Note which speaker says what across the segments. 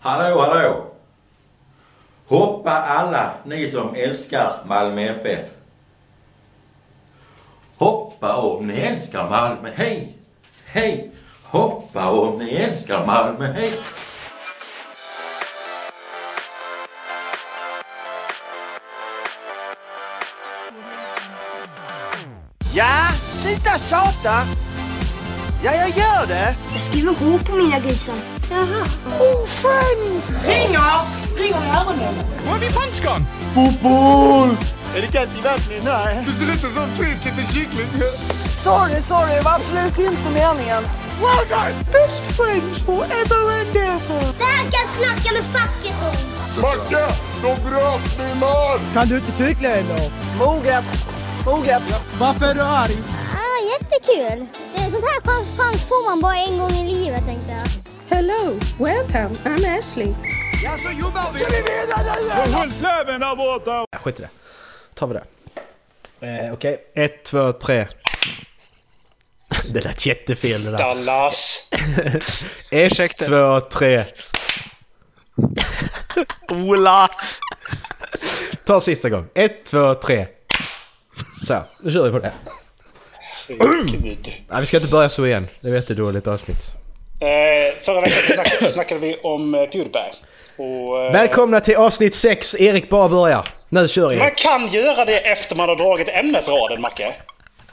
Speaker 1: Hallå, hallå! Hoppa alla ni som älskar Malmö FF. Hoppa om ni älskar Malmö, hej! Hej! Hoppa om ni älskar Malmö, hej!
Speaker 2: Ja, sluta tjata! Ja, jag gör det!
Speaker 3: Jag skriver H på mina grisar. Jaha.
Speaker 2: Ofriend!
Speaker 4: Ringer! Ringer i öronen.
Speaker 5: Var är vi punchgång?
Speaker 2: Fotboll! Är det kallt i vattnet? Nej.
Speaker 5: Du ser ut som en frisk liten kyckling.
Speaker 2: Sorry, sorry. Det var absolut inte meningen. Well done! Best friends forever and ever.
Speaker 6: Det här ska jag snacka med facket om.
Speaker 7: Macke, de bröt min man!
Speaker 8: Kan du inte cykla eller?
Speaker 2: Moget. Moget.
Speaker 8: Varför är du arg?
Speaker 6: Ah, jättekul. Det, sånt här chans, chans får man bara en gång i livet tänkte jag.
Speaker 9: Hello, welcome, I'm Ashley.
Speaker 2: Ja, så jobbar vi! Ska vi vinna
Speaker 7: nu? Hundfläven där borta!
Speaker 10: Skit i det. tar vi det. Eh, Okej, okay. ett, två, tre. Det lät jättefel det där.
Speaker 11: Dallas!
Speaker 10: ett, två, tre.
Speaker 11: Ola!
Speaker 10: Ta sista gången. Ett, två, tre. Så, nu kör vi på det. Nej, vi ska inte börja så igen. Det vet du dåligt avsnitt.
Speaker 11: Eh, förra veckan snack snackade vi om eh, Pewdiepie. Och,
Speaker 10: eh, Välkomna till avsnitt 6. Erik bara börjar. Nu kör jag.
Speaker 11: Man kan göra det efter man har dragit ämnesraden, Macke.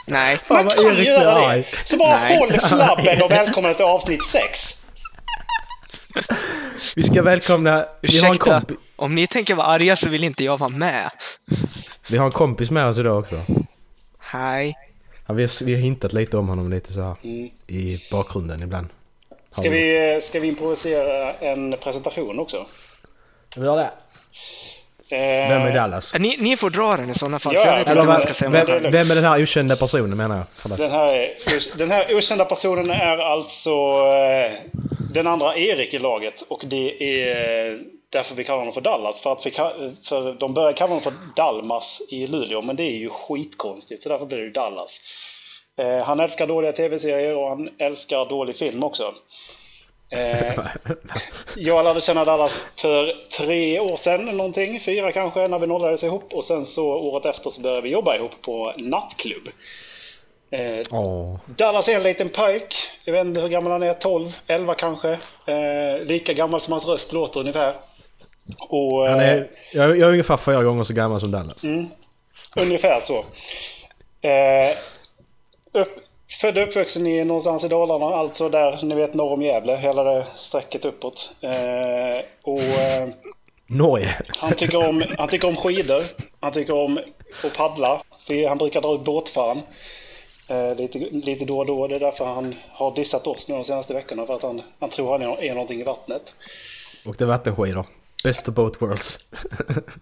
Speaker 10: Nej.
Speaker 11: man kan Erik göra det. Så bara Nej. håll flabben och välkomna till avsnitt 6.
Speaker 10: Vi ska välkomna...
Speaker 12: Ursäkta, vi om ni tänker vara arga så vill inte jag vara med.
Speaker 10: Vi har en kompis med oss idag också.
Speaker 12: Hej.
Speaker 10: Ja, vi, har, vi har hintat lite om honom lite så här mm. i bakgrunden ibland.
Speaker 11: Ska vi, eh, ska vi improvisera en presentation också?
Speaker 10: Vi gör det. Vem är Dallas?
Speaker 12: Äh, Ni, ni får dra den i sådana fall, ja, för jag vet inte vad jag ska säga.
Speaker 10: Vem, vem, vem är den här okända personen menar jag? Förlåt.
Speaker 11: Den här, den här okända personen är alltså den andra Erik i laget och det är därför vi kallar honom för Dallas. För, att vi, för de började kalla honom för Dalmas i Luleå, men det är ju skitkonstigt så därför blir det ju Dallas. Eh, Han älskar dåliga tv-serier och han älskar dålig film också. Eh, jag lärde känna Dallas för tre år sedan någonting, fyra kanske, när vi nollades ihop. Och sen så året efter så började vi jobba ihop på nattklubb. Eh,
Speaker 10: Oh.
Speaker 11: Dallas är en liten pojk, jag vet inte hur gammal han är, 12, 11 kanske. Eh, lika gammal som hans röst låter ungefär.
Speaker 10: Och, han är, jag är ungefär fyra gånger så gammal som Dallas. Mm,
Speaker 11: eh, ungefär så. Eh, Upp, född och uppvuxen i någonstans i Dalarna, alltså där ni vet norr om Gävle, hela det strecket uppåt. Eh, och, eh,
Speaker 10: Norge!
Speaker 11: Han tycker, om, han tycker om skidor, han tycker om att paddla, han brukar dra ut båtfärden. Eh, lite, lite då och då, det är därför han har dissat oss nu de senaste veckorna, för att han, han tror han är någonting i vattnet.
Speaker 10: Och det är vattenskidor. Best of both worlds.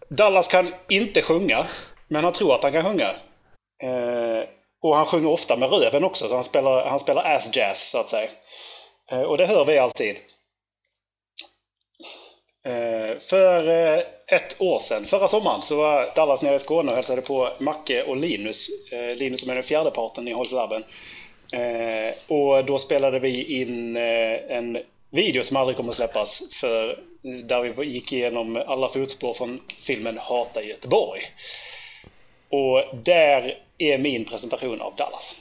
Speaker 11: Dallas kan inte sjunga, men han tror att han kan sjunga. Eh, och han sjunger ofta med röven också, så han spelar, han spelar ass-jazz så att säga. Eh, och det hör vi alltid. Eh, för eh, ett år sedan, förra sommaren, så var Dallas nere i Skåne och hälsade på Macke och Linus. Eh, Linus som är den fjärde parten i Håll Eh, Och då spelade vi in eh, en video som aldrig kommer att släppas, för, eh, där vi gick igenom alla fotspår från filmen Hata Göteborg. Och där är min presentation av Dallas.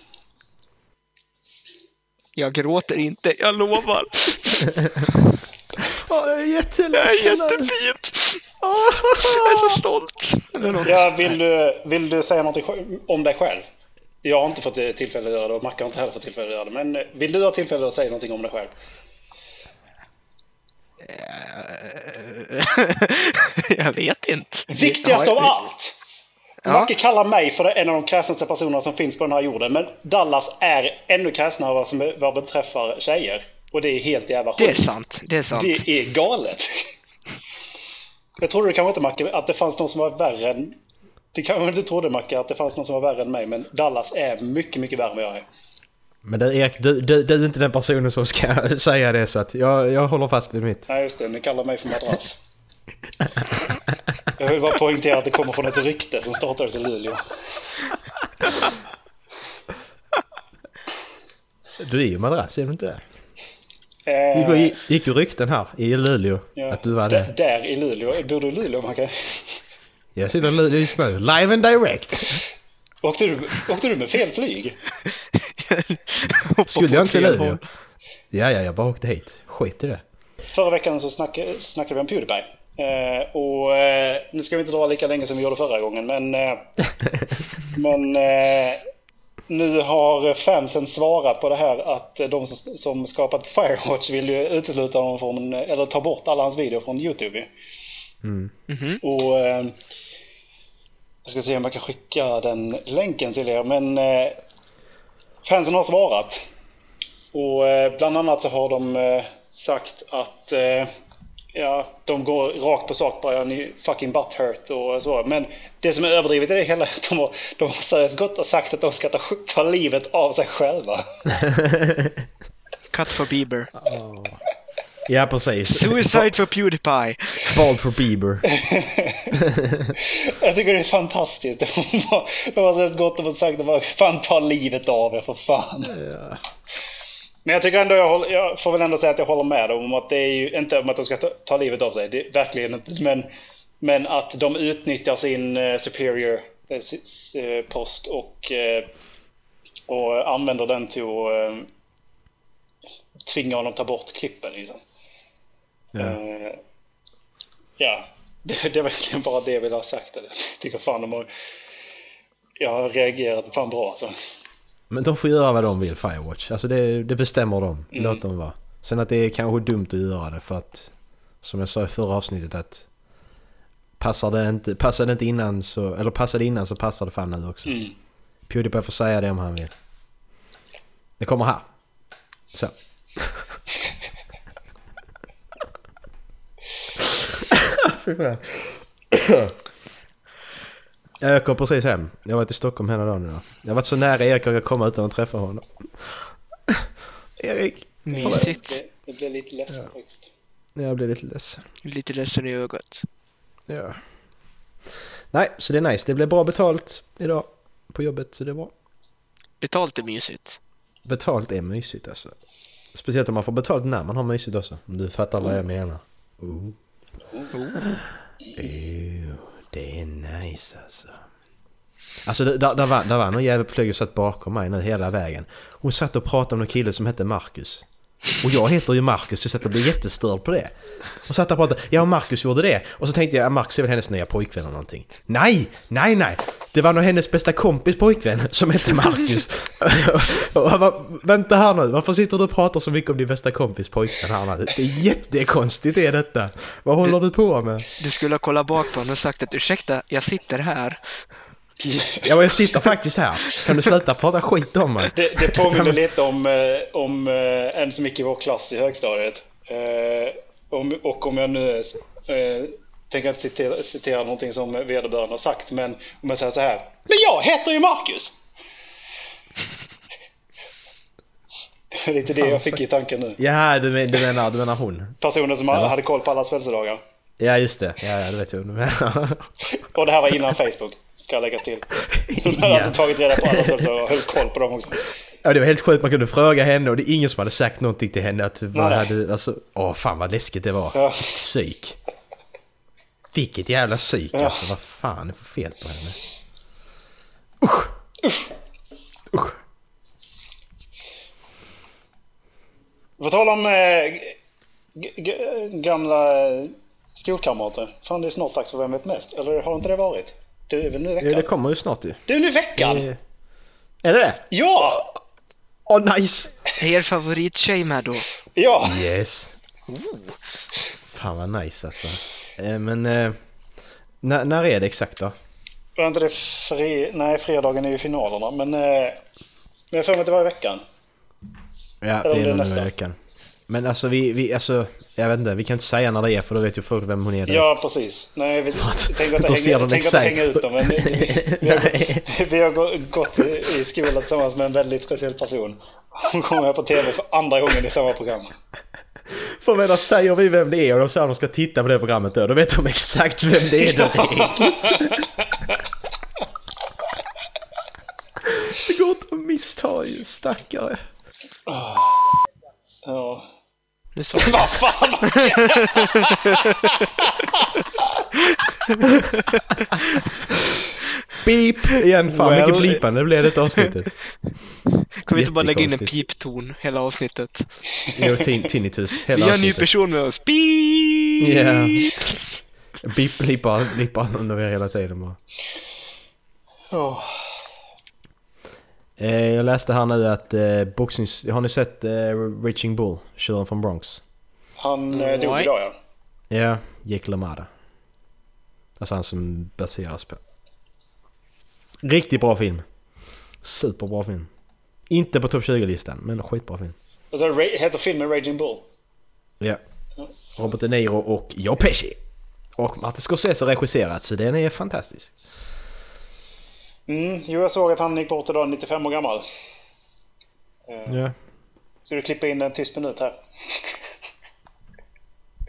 Speaker 12: Jag gråter inte, jag lovar.
Speaker 10: oh, jag är jätteledsen.
Speaker 12: Jag är jättefint. Oh, jag är så stolt.
Speaker 11: Ja, Ah. vill, du, vill du säga något om dig själv? Jag har inte fått eh, tillfälle att göra det och Macke har inte heller fått tillfälle att göra det. Men eh, vill du ha tillfälle att säga någonting om dig själv?
Speaker 12: jag vet inte.
Speaker 11: Viktigast av allt! Ja. Macke kallar mig för en av de kräsnaste personerna som finns på den här jorden. Men Dallas är ännu kräsnare vad, som, vad beträffar tjejer. Och det är helt jävla sjukt.
Speaker 12: Det är sant. Det är sant.
Speaker 11: Det är galet. Jag trodde kanske inte Macke att det fanns någon som var värre än... Du kanske inte trodde Macke att det fanns någon som var värre än mig. Men Dallas är mycket, mycket värre än vad jag är.
Speaker 10: Men det, Erik, du, du, du är inte den personen som ska säga det så att jag, jag håller fast vid mitt.
Speaker 11: Nej, just det. Ni kallar mig för madrass. Jag vill bara poängtera att det kommer från ett rykte som startades i Luleå.
Speaker 10: Du är ju madrass, är du inte det?
Speaker 11: Eh,
Speaker 10: Gick, gick ju rykten här i Luleå
Speaker 11: ja.
Speaker 10: att du var
Speaker 11: där,
Speaker 10: det.
Speaker 11: där i Luleå. Bor du i Luleå, Macke?
Speaker 10: Jag sitter i Luleå just nu, live and direct.
Speaker 11: Åkte du, åkte du med fel flyg?
Speaker 10: Skulle jag inte till
Speaker 11: fel
Speaker 10: Luleå?
Speaker 11: håll.
Speaker 10: Ja, ja, jag bara åkte hit. Skit i det.
Speaker 11: Förra veckan så snackade, så snackade vi om Pewdiepie. Eh, och eh, nu ska vi inte dra lika länge som vi gjorde förra gången, men... Eh, men eh, nu har fansen svarat på det här att de som, som skapat Firewatch vill ju utesluta honom från, eller ta bort alla hans videor från YouTube. ju.
Speaker 10: Mm.
Speaker 11: Och... Eh, jag ska se om jag kan skicka den länken till er, men... Eh, fansen har svarat. Och eh, bland annat så har de eh, sagt att eh, ja, de går rakt på sak bara, ni fucking butthurt och så. Men det som är överdrivet är det hela att de har, de har seriöst gått och sagt att de ska ta, ta livet av sig själva.
Speaker 12: Cut for Bieber.
Speaker 10: Ja, precis.
Speaker 12: Suicide for Pewdiepie.
Speaker 10: Ball for Bieber.
Speaker 11: Jag tycker det är fantastiskt. De har, de har seriöst gått och sagt att bara, fan ta livet av er för fan. Men jag tycker ändå, jag, håller, jag får väl ändå säga att jag håller med dem om att det är ju inte om att de ska ta, ta livet av sig, det, är verkligen inte. Men, men att de utnyttjar sin eh, superior eh, s- s- eh, post och, eh, och använder den till att eh, tvinga honom att ta bort klippen. Liksom. Eh, ja, det, det är verkligen bara det jag vill ha sagt. Jag tycker fan de har, jag har reagerat fan bra alltså.
Speaker 10: Men de får göra vad de vill, Firewatch. Alltså det, det bestämmer de. Låt dem vara. Sen att det är kanske dumt att göra det för att, som jag sa i förra avsnittet, att passar det inte, passar det inte innan så, eller passar det innan så passar det fan nu också.
Speaker 11: Mm.
Speaker 10: Pewdiepie får säga det om han vill. Det kommer här. Så. Fy fan. Jag kom precis hem. Jag har varit i Stockholm hela dagen idag. Jag har varit så nära Erik jag kan komma utan att träffa honom. Erik!
Speaker 12: Mysigt.
Speaker 11: Jag blev lite ledsen faktiskt.
Speaker 10: Jag blev lite ledsen.
Speaker 12: Lite ledsen i ögat.
Speaker 10: Ja. Nej, så det är nice. Det blev bra betalt idag på jobbet, så det är bra.
Speaker 12: Betalt är mysigt.
Speaker 10: Betalt är mysigt alltså. Speciellt om man får betalt när man har mysigt också. Om du fattar vad jag menar. Ooh. Ew, det är nice alltså. Alltså det- där, där, var, där var någon jävel på flyget och satt bakom mig nu hela vägen. Hon satt och pratade om någon kille som hette Marcus. Och jag heter ju Marcus så jag satt och blev jättestörd på det. Och satt där och pratade, ja Marcus gjorde det. Och så tänkte jag, ja, Marcus är väl hennes nya pojkvän eller någonting. Nej, nej, nej! Det var nog hennes bästa kompis pojkvän som hette Marcus. och jag bara, vänta här nu, varför sitter du och pratar så mycket om din bästa kompis pojkvän här nu? Det är jättekonstigt är detta. Vad håller du på med?
Speaker 12: Du skulle ha kollat bak på honom och sagt att ursäkta, jag sitter här.
Speaker 10: Ja, men jag sitter faktiskt här. Kan du sluta prata skit om mig?
Speaker 11: Det, det påminner lite om, eh, om eh, en som gick i vår klass i högstadiet. Eh, om, och om jag nu eh, tänker inte citera, citera någonting som vederbörande har sagt, men om jag säger så här. Men jag heter ju Marcus! Det är lite det
Speaker 10: Fan,
Speaker 11: jag fick
Speaker 10: så-
Speaker 11: i tanken nu.
Speaker 10: Ja, du, men, du, menar, du menar hon?
Speaker 11: Personen som
Speaker 10: Eller?
Speaker 11: hade koll på allas födelsedagar.
Speaker 10: Ja, just det. Ja, ja, det vet jag vad du menar.
Speaker 11: Och det här var innan Facebook, ska läggas till. Hon hade
Speaker 10: Ja.
Speaker 11: alltså tagit reda på allas födelsedagar och höll koll på dem också.
Speaker 10: Ja, det var helt sjukt. Man kunde fråga henne och det är ingen som hade sagt någonting till henne. Att vad
Speaker 11: Nej.
Speaker 10: hade, alltså, åh, fan vad läskigt det var.
Speaker 11: Ja.
Speaker 10: Vilket psyk. Vilket jävla psyk alltså. Vad fan är det för fel på henne? Usch! Usch!
Speaker 11: På tal om eh, g- g- gamla eh, skolkamrater. Fan, det är snart dags för Vem vet mest? Eller har inte det varit? Du är väl nu i
Speaker 10: Ja,
Speaker 11: veckan?
Speaker 10: det kommer ju snart ju.
Speaker 11: Du är nu i veckan!
Speaker 10: Eh, Är det det?
Speaker 11: Ja!
Speaker 10: Åh, nice!
Speaker 12: Är er favorittjej med då?
Speaker 11: Ja!
Speaker 10: Yes. Fan vad nice alltså. Eh, Men eh, när, när är det exakt då?
Speaker 11: Var inte det fri... Nej, fredagen är ju finalerna. Men, eh, men jag får mig att det var i veckan.
Speaker 10: Ja,
Speaker 11: Eller
Speaker 10: det
Speaker 11: om det
Speaker 10: är
Speaker 11: är
Speaker 10: nog nu
Speaker 11: nästa.
Speaker 10: i veckan. Men alltså vi, vi, alltså, jag vet inte, vi kan inte säga när det är för då vet ju folk vem hon är. direkt.
Speaker 11: Ja, precis. Nej, vi
Speaker 10: Fast,
Speaker 11: tänker inte
Speaker 10: då ser
Speaker 11: hänga,
Speaker 10: de
Speaker 11: tänker inte
Speaker 10: exakt.
Speaker 11: hänga ut dem. Men vi, vi, har, gått- vi har gå- gått i i skolan tillsammans med en väldigt speciell person. Hon kommer här på tv för andra gången i samma program.
Speaker 10: För jag menar, säger vi vem det är och de säger att de ska titta på det programmet då, då vet de exakt vem det är direkt. det går inte att missta ju, stackare.
Speaker 11: Ja.
Speaker 12: Nu sa jag Vad fan!
Speaker 10: Beep! Igen, fan vilket blipande det blev
Speaker 12: eh,
Speaker 10: detta avsnittet.
Speaker 12: Kan vi inte bara lägga in en
Speaker 10: Jättekonstigt.
Speaker 12: pipton hela avsnittet?
Speaker 10: Jo, tin- tinnitus.
Speaker 12: Vi
Speaker 10: Hela
Speaker 12: har en ny
Speaker 10: avsnittet.
Speaker 12: person med oss. Beep!
Speaker 10: Yeah. Beep, blippar, blippar under hela tiden bara.
Speaker 11: Åh.
Speaker 10: Eh, jag läste här nu att eh, boxnings... Har ni sett eh, Reaching Bull? Tjuren från Bronx?
Speaker 11: Han eh, dog
Speaker 12: Nej.
Speaker 11: idag ja.
Speaker 10: Ja, Jake LaMada. Alltså han som baseras på. Riktigt bra film. Superbra film. Inte på topp 20-listan, men skitbra film.
Speaker 11: Alltså, Ra- heter filmen Raging Bull?
Speaker 10: Ja. Robert De Niro och Joe Pesci. Och Martin Scorsese har regisserat, så den är fantastisk.
Speaker 11: Mm, jo, jag såg att han gick bort idag, 95 år gammal. Eh,
Speaker 10: Ja.
Speaker 11: Ska du klippa in en tyst minut här?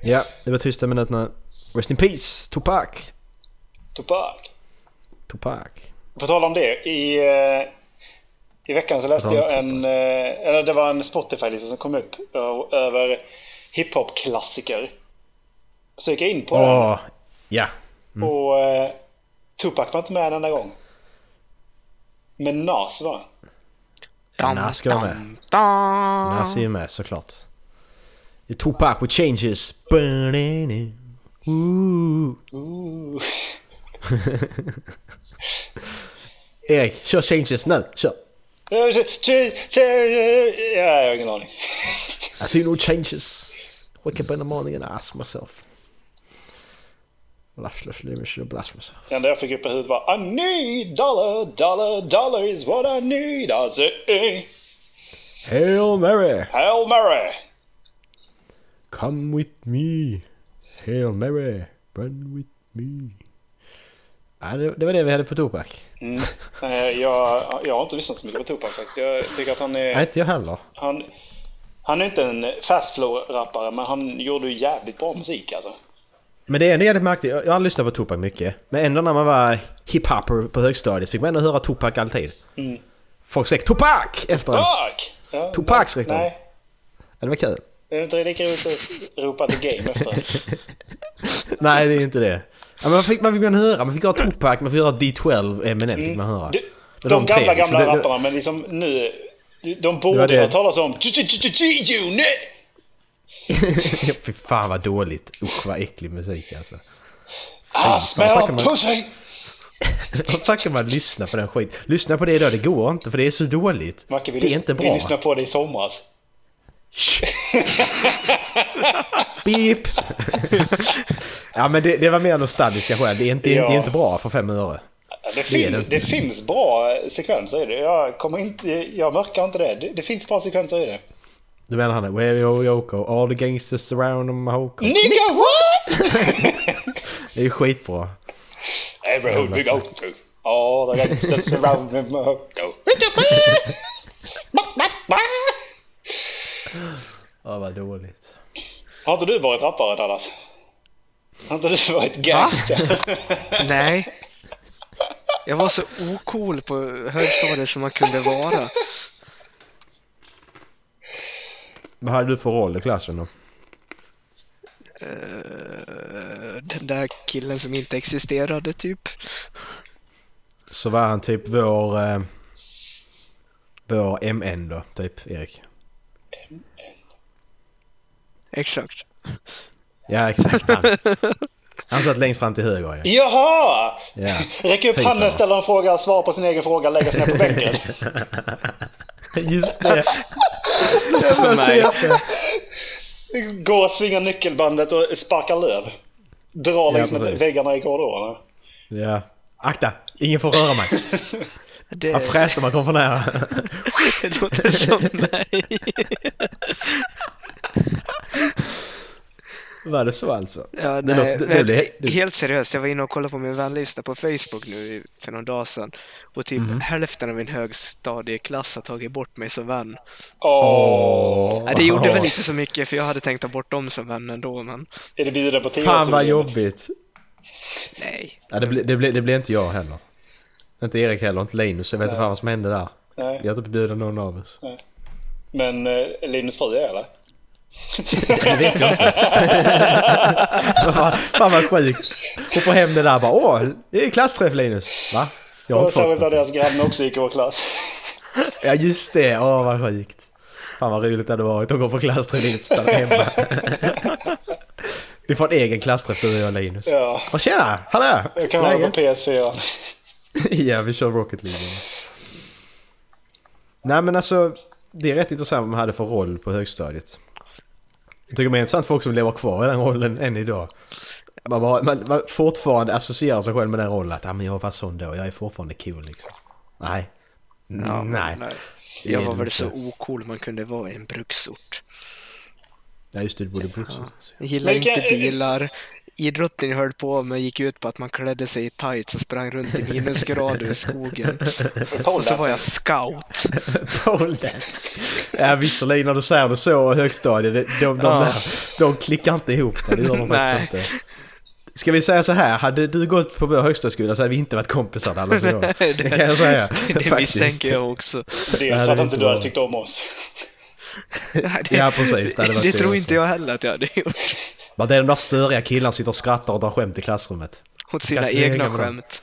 Speaker 10: Ja, det var tysta minuterna. Rest in peace, Tupac!
Speaker 11: Tupac.
Speaker 10: Tupac.
Speaker 11: På tal om det, i, eh, i veckan så läste
Speaker 10: På tal om
Speaker 11: jag en... eh, Eller det var en Spotify-lista som kom upp eh, över hiphop-klassiker. Så gick jag in på
Speaker 10: Åh, ja.
Speaker 11: den och eh, Tupac var inte med en enda gång. Men Nas var.
Speaker 12: Dam,
Speaker 10: Nas ska vara med.
Speaker 12: dam.
Speaker 10: Nas är ju med såklart. Det är Tupac with changes. Ooh.
Speaker 11: Ooh.
Speaker 10: Erik, kör changes nu. Kör.
Speaker 11: Ja, jag har ingen aning.
Speaker 10: I see no changes. Wake up in the morning and ask myself. Lash, lash, lash, blast myself.
Speaker 11: Det enda jag fick upp i huvudet var I need dollar, dollar, dollar is what I need. Alltså, eh,
Speaker 10: Hail Mary,
Speaker 11: Hail Mary!
Speaker 10: come with me. Hail Mary, run with me. Ja, det, det var det vi hade på Tupac.
Speaker 11: Mm. Eh, Jag, jag har inte lyssnat så mycket på Tupac faktiskt. Jag tycker att han
Speaker 10: Nej,
Speaker 11: är...
Speaker 10: inte jag heller.
Speaker 11: Han, han är inte en fast flow-rappare, men han gjorde ju jävligt bra musik alltså.
Speaker 10: Men det är ändå jävligt märkligt. Jag jag har lyssnat på Tupac mycket. Men ändå när man var hiphopper på högstadiet fick man ändå höra Tupac alltid.
Speaker 11: Mm. Ah!
Speaker 10: Folk skrek Tupac efter en.
Speaker 11: Fuck! Ja,
Speaker 10: Tupac skrek de.
Speaker 11: Nej,
Speaker 10: Ja, Det var kul.
Speaker 11: det är inte lika roligt att ropa the game efter.
Speaker 10: Nej, det är inte det. Ja, men vad fick man, fick man höra? Man fick höra Tupac, man fick höra D12, Eminem fick man höra.
Speaker 11: Du,
Speaker 10: Det
Speaker 11: Mm. de,
Speaker 10: är de tre,
Speaker 11: gamla,
Speaker 10: liksom.
Speaker 11: gamla
Speaker 10: Det- det-
Speaker 11: rapparna, men liksom nu... De
Speaker 10: Det var
Speaker 11: borde
Speaker 10: det.
Speaker 11: ha talas om... G-Unit!
Speaker 10: Ja, Fy fan vad dåligt. Usch vad äcklig musik alltså.
Speaker 11: Ah, I
Speaker 10: vad
Speaker 11: smell
Speaker 10: kan man-
Speaker 11: pussy!
Speaker 10: Vad fan kan man lyssna på den skit? Lyssna på det idag, det går inte för det är så dåligt.
Speaker 11: Macke, vi,
Speaker 10: det är
Speaker 11: lys-
Speaker 10: inte
Speaker 11: vi
Speaker 10: bra.
Speaker 11: lyssnade på det i somras.
Speaker 10: Shh. Beep! ja men det, det var mer nostalgiska skäl. Det är inte, det är
Speaker 11: Ja.
Speaker 10: inte bra för fem öre.
Speaker 11: Ja, Det,
Speaker 10: är
Speaker 11: fin-
Speaker 10: det
Speaker 11: det,
Speaker 10: inte.
Speaker 11: finns bra eh, sekvenser i det. Jag, kommer inte, jag mörkar inte det. det. Det finns bra sekvenser i det.
Speaker 10: Du menar han Where yo Yoko, all the gangsters around him Hoko.
Speaker 11: Nigga what?
Speaker 10: Det är ju skitbra.
Speaker 11: Every hood we go to. All the gangsters around him go.
Speaker 10: Ja vad dåligt.
Speaker 11: Har inte du varit rappare Dallas? Har inte du varit gangster?
Speaker 12: Nej. Jag var så ocool på högstadiet som man kunde vara.
Speaker 10: Vad hade du för roll i klassen då?
Speaker 12: Eh, Den där killen som inte existerade typ.
Speaker 10: Så var han typ vår... Eh, vår MN då, typ Erik.
Speaker 12: Exakt.
Speaker 10: Ja exakt han. Han satt längst fram till höger ju.
Speaker 11: Jaha!
Speaker 10: Ja.
Speaker 11: Räck upp
Speaker 10: Typ
Speaker 11: handen,
Speaker 10: av.
Speaker 11: ställer en fråga, svar på sin egen fråga, lägger sig ner på bänken.
Speaker 10: Just det.
Speaker 12: Låter som mig.
Speaker 11: Går och svingar nyckelbandet och sparkar löv. Drar längs med
Speaker 10: precis.
Speaker 11: väggarna i korridorerna.
Speaker 10: Ja. Akta! Ingen får röra mig.
Speaker 12: Det,
Speaker 10: Han fräste om man kom för nära.
Speaker 12: det låter som mig.
Speaker 10: Var det så alltså?
Speaker 12: Ja,
Speaker 10: Det
Speaker 12: nej,
Speaker 10: låter- det-
Speaker 12: men
Speaker 10: det- det-
Speaker 12: Helt seriöst, jag var inne och kollade på min vänlista på Facebook nu i- för någon dag sedan och typ
Speaker 10: Mhm.
Speaker 12: hälften av min högstadieklass har tagit bort mig som vän.
Speaker 10: Åh.
Speaker 12: Nej, det gjorde väl inte så mycket för jag hade tänkt ta bort dem som vän ändå, men
Speaker 11: Är det bjuden på tio
Speaker 10: Fan vad jobbigt.
Speaker 12: nej.
Speaker 10: Ja, det blev det blir- det blir inte jag heller. Inte Erik heller, inte Linus. Jag vet inte fan vad som hände där.
Speaker 11: Nej.
Speaker 10: Vi har inte bjudit någon av oss.
Speaker 11: Men eh, Linus fru är eller?
Speaker 10: Det vet jag inte. fan, fan vad sjukt. Och få hem det där bara åh, det är klassträff Linus. Va? Jag har
Speaker 11: Och
Speaker 10: inte fått
Speaker 11: särskilt
Speaker 10: det.
Speaker 11: när deras granne också gick i vår klass.
Speaker 10: Ja just det, åh vad sjukt. Fan vad roligt det hade varit att gå på klassträff Linus där hemma. Vi får en egen klassträff du och jag Linus.
Speaker 11: Ja.
Speaker 10: Vad tjena, hallå!
Speaker 11: Jag kan vara
Speaker 10: Läget?
Speaker 11: på PS4.
Speaker 10: ja, vi kör Rocket League. Nej men alltså, det är rätt intressant vad man hade för roll på högstadiet. Jag tycker det är intressant folk som lever kvar i den rollen än idag. Man, bara, man, man fortfarande associerar sig själv med den rollen att ah, men jag var sån då, jag är fortfarande cool liksom. Nej.
Speaker 12: Ja,
Speaker 10: nej. Det
Speaker 12: Jag
Speaker 10: är
Speaker 12: var
Speaker 10: du
Speaker 12: väl
Speaker 10: inte.
Speaker 12: så ocool man kunde vara i en bruksort.
Speaker 10: Ja just det, du bodde i Brooks.
Speaker 12: Jag gillade
Speaker 11: Men kan-
Speaker 12: inte bilar. Idrotten jag höll på med gick ut på att man klädde sig i tights och sprang runt i minusgrader i skogen. Och så var jag scout.
Speaker 10: Pole dance. Ja visserligen när du säger det så högstadiet, de, de, de,
Speaker 12: Ja.
Speaker 10: där, de klickar inte ihop det, det gör de
Speaker 12: Nej.
Speaker 10: faktiskt inte. Ska vi säga så här, hade du gått på vår högstadieskola så hade vi inte varit kompisar där alla år.
Speaker 12: Det-
Speaker 10: Det kan jag säga.
Speaker 12: Det
Speaker 10: faktiskt.
Speaker 12: misstänker jag också.
Speaker 10: Det hade
Speaker 11: Dels för att
Speaker 10: vi
Speaker 11: inte
Speaker 10: inte
Speaker 11: du hade
Speaker 10: varit.
Speaker 11: tyckt om oss.
Speaker 12: Nej,
Speaker 10: Ja, precis. Det hade
Speaker 12: Det,
Speaker 10: varit
Speaker 12: det
Speaker 10: det
Speaker 12: tror
Speaker 10: också.
Speaker 12: inte jag heller att jag hade gjort.
Speaker 10: Men det är de där störiga killarna som sitter och skrattar och drar skämt i klassrummet.
Speaker 12: Åt
Speaker 10: Jag
Speaker 12: sina
Speaker 10: kan inte hänga
Speaker 12: egna
Speaker 10: med dem.
Speaker 12: skämt.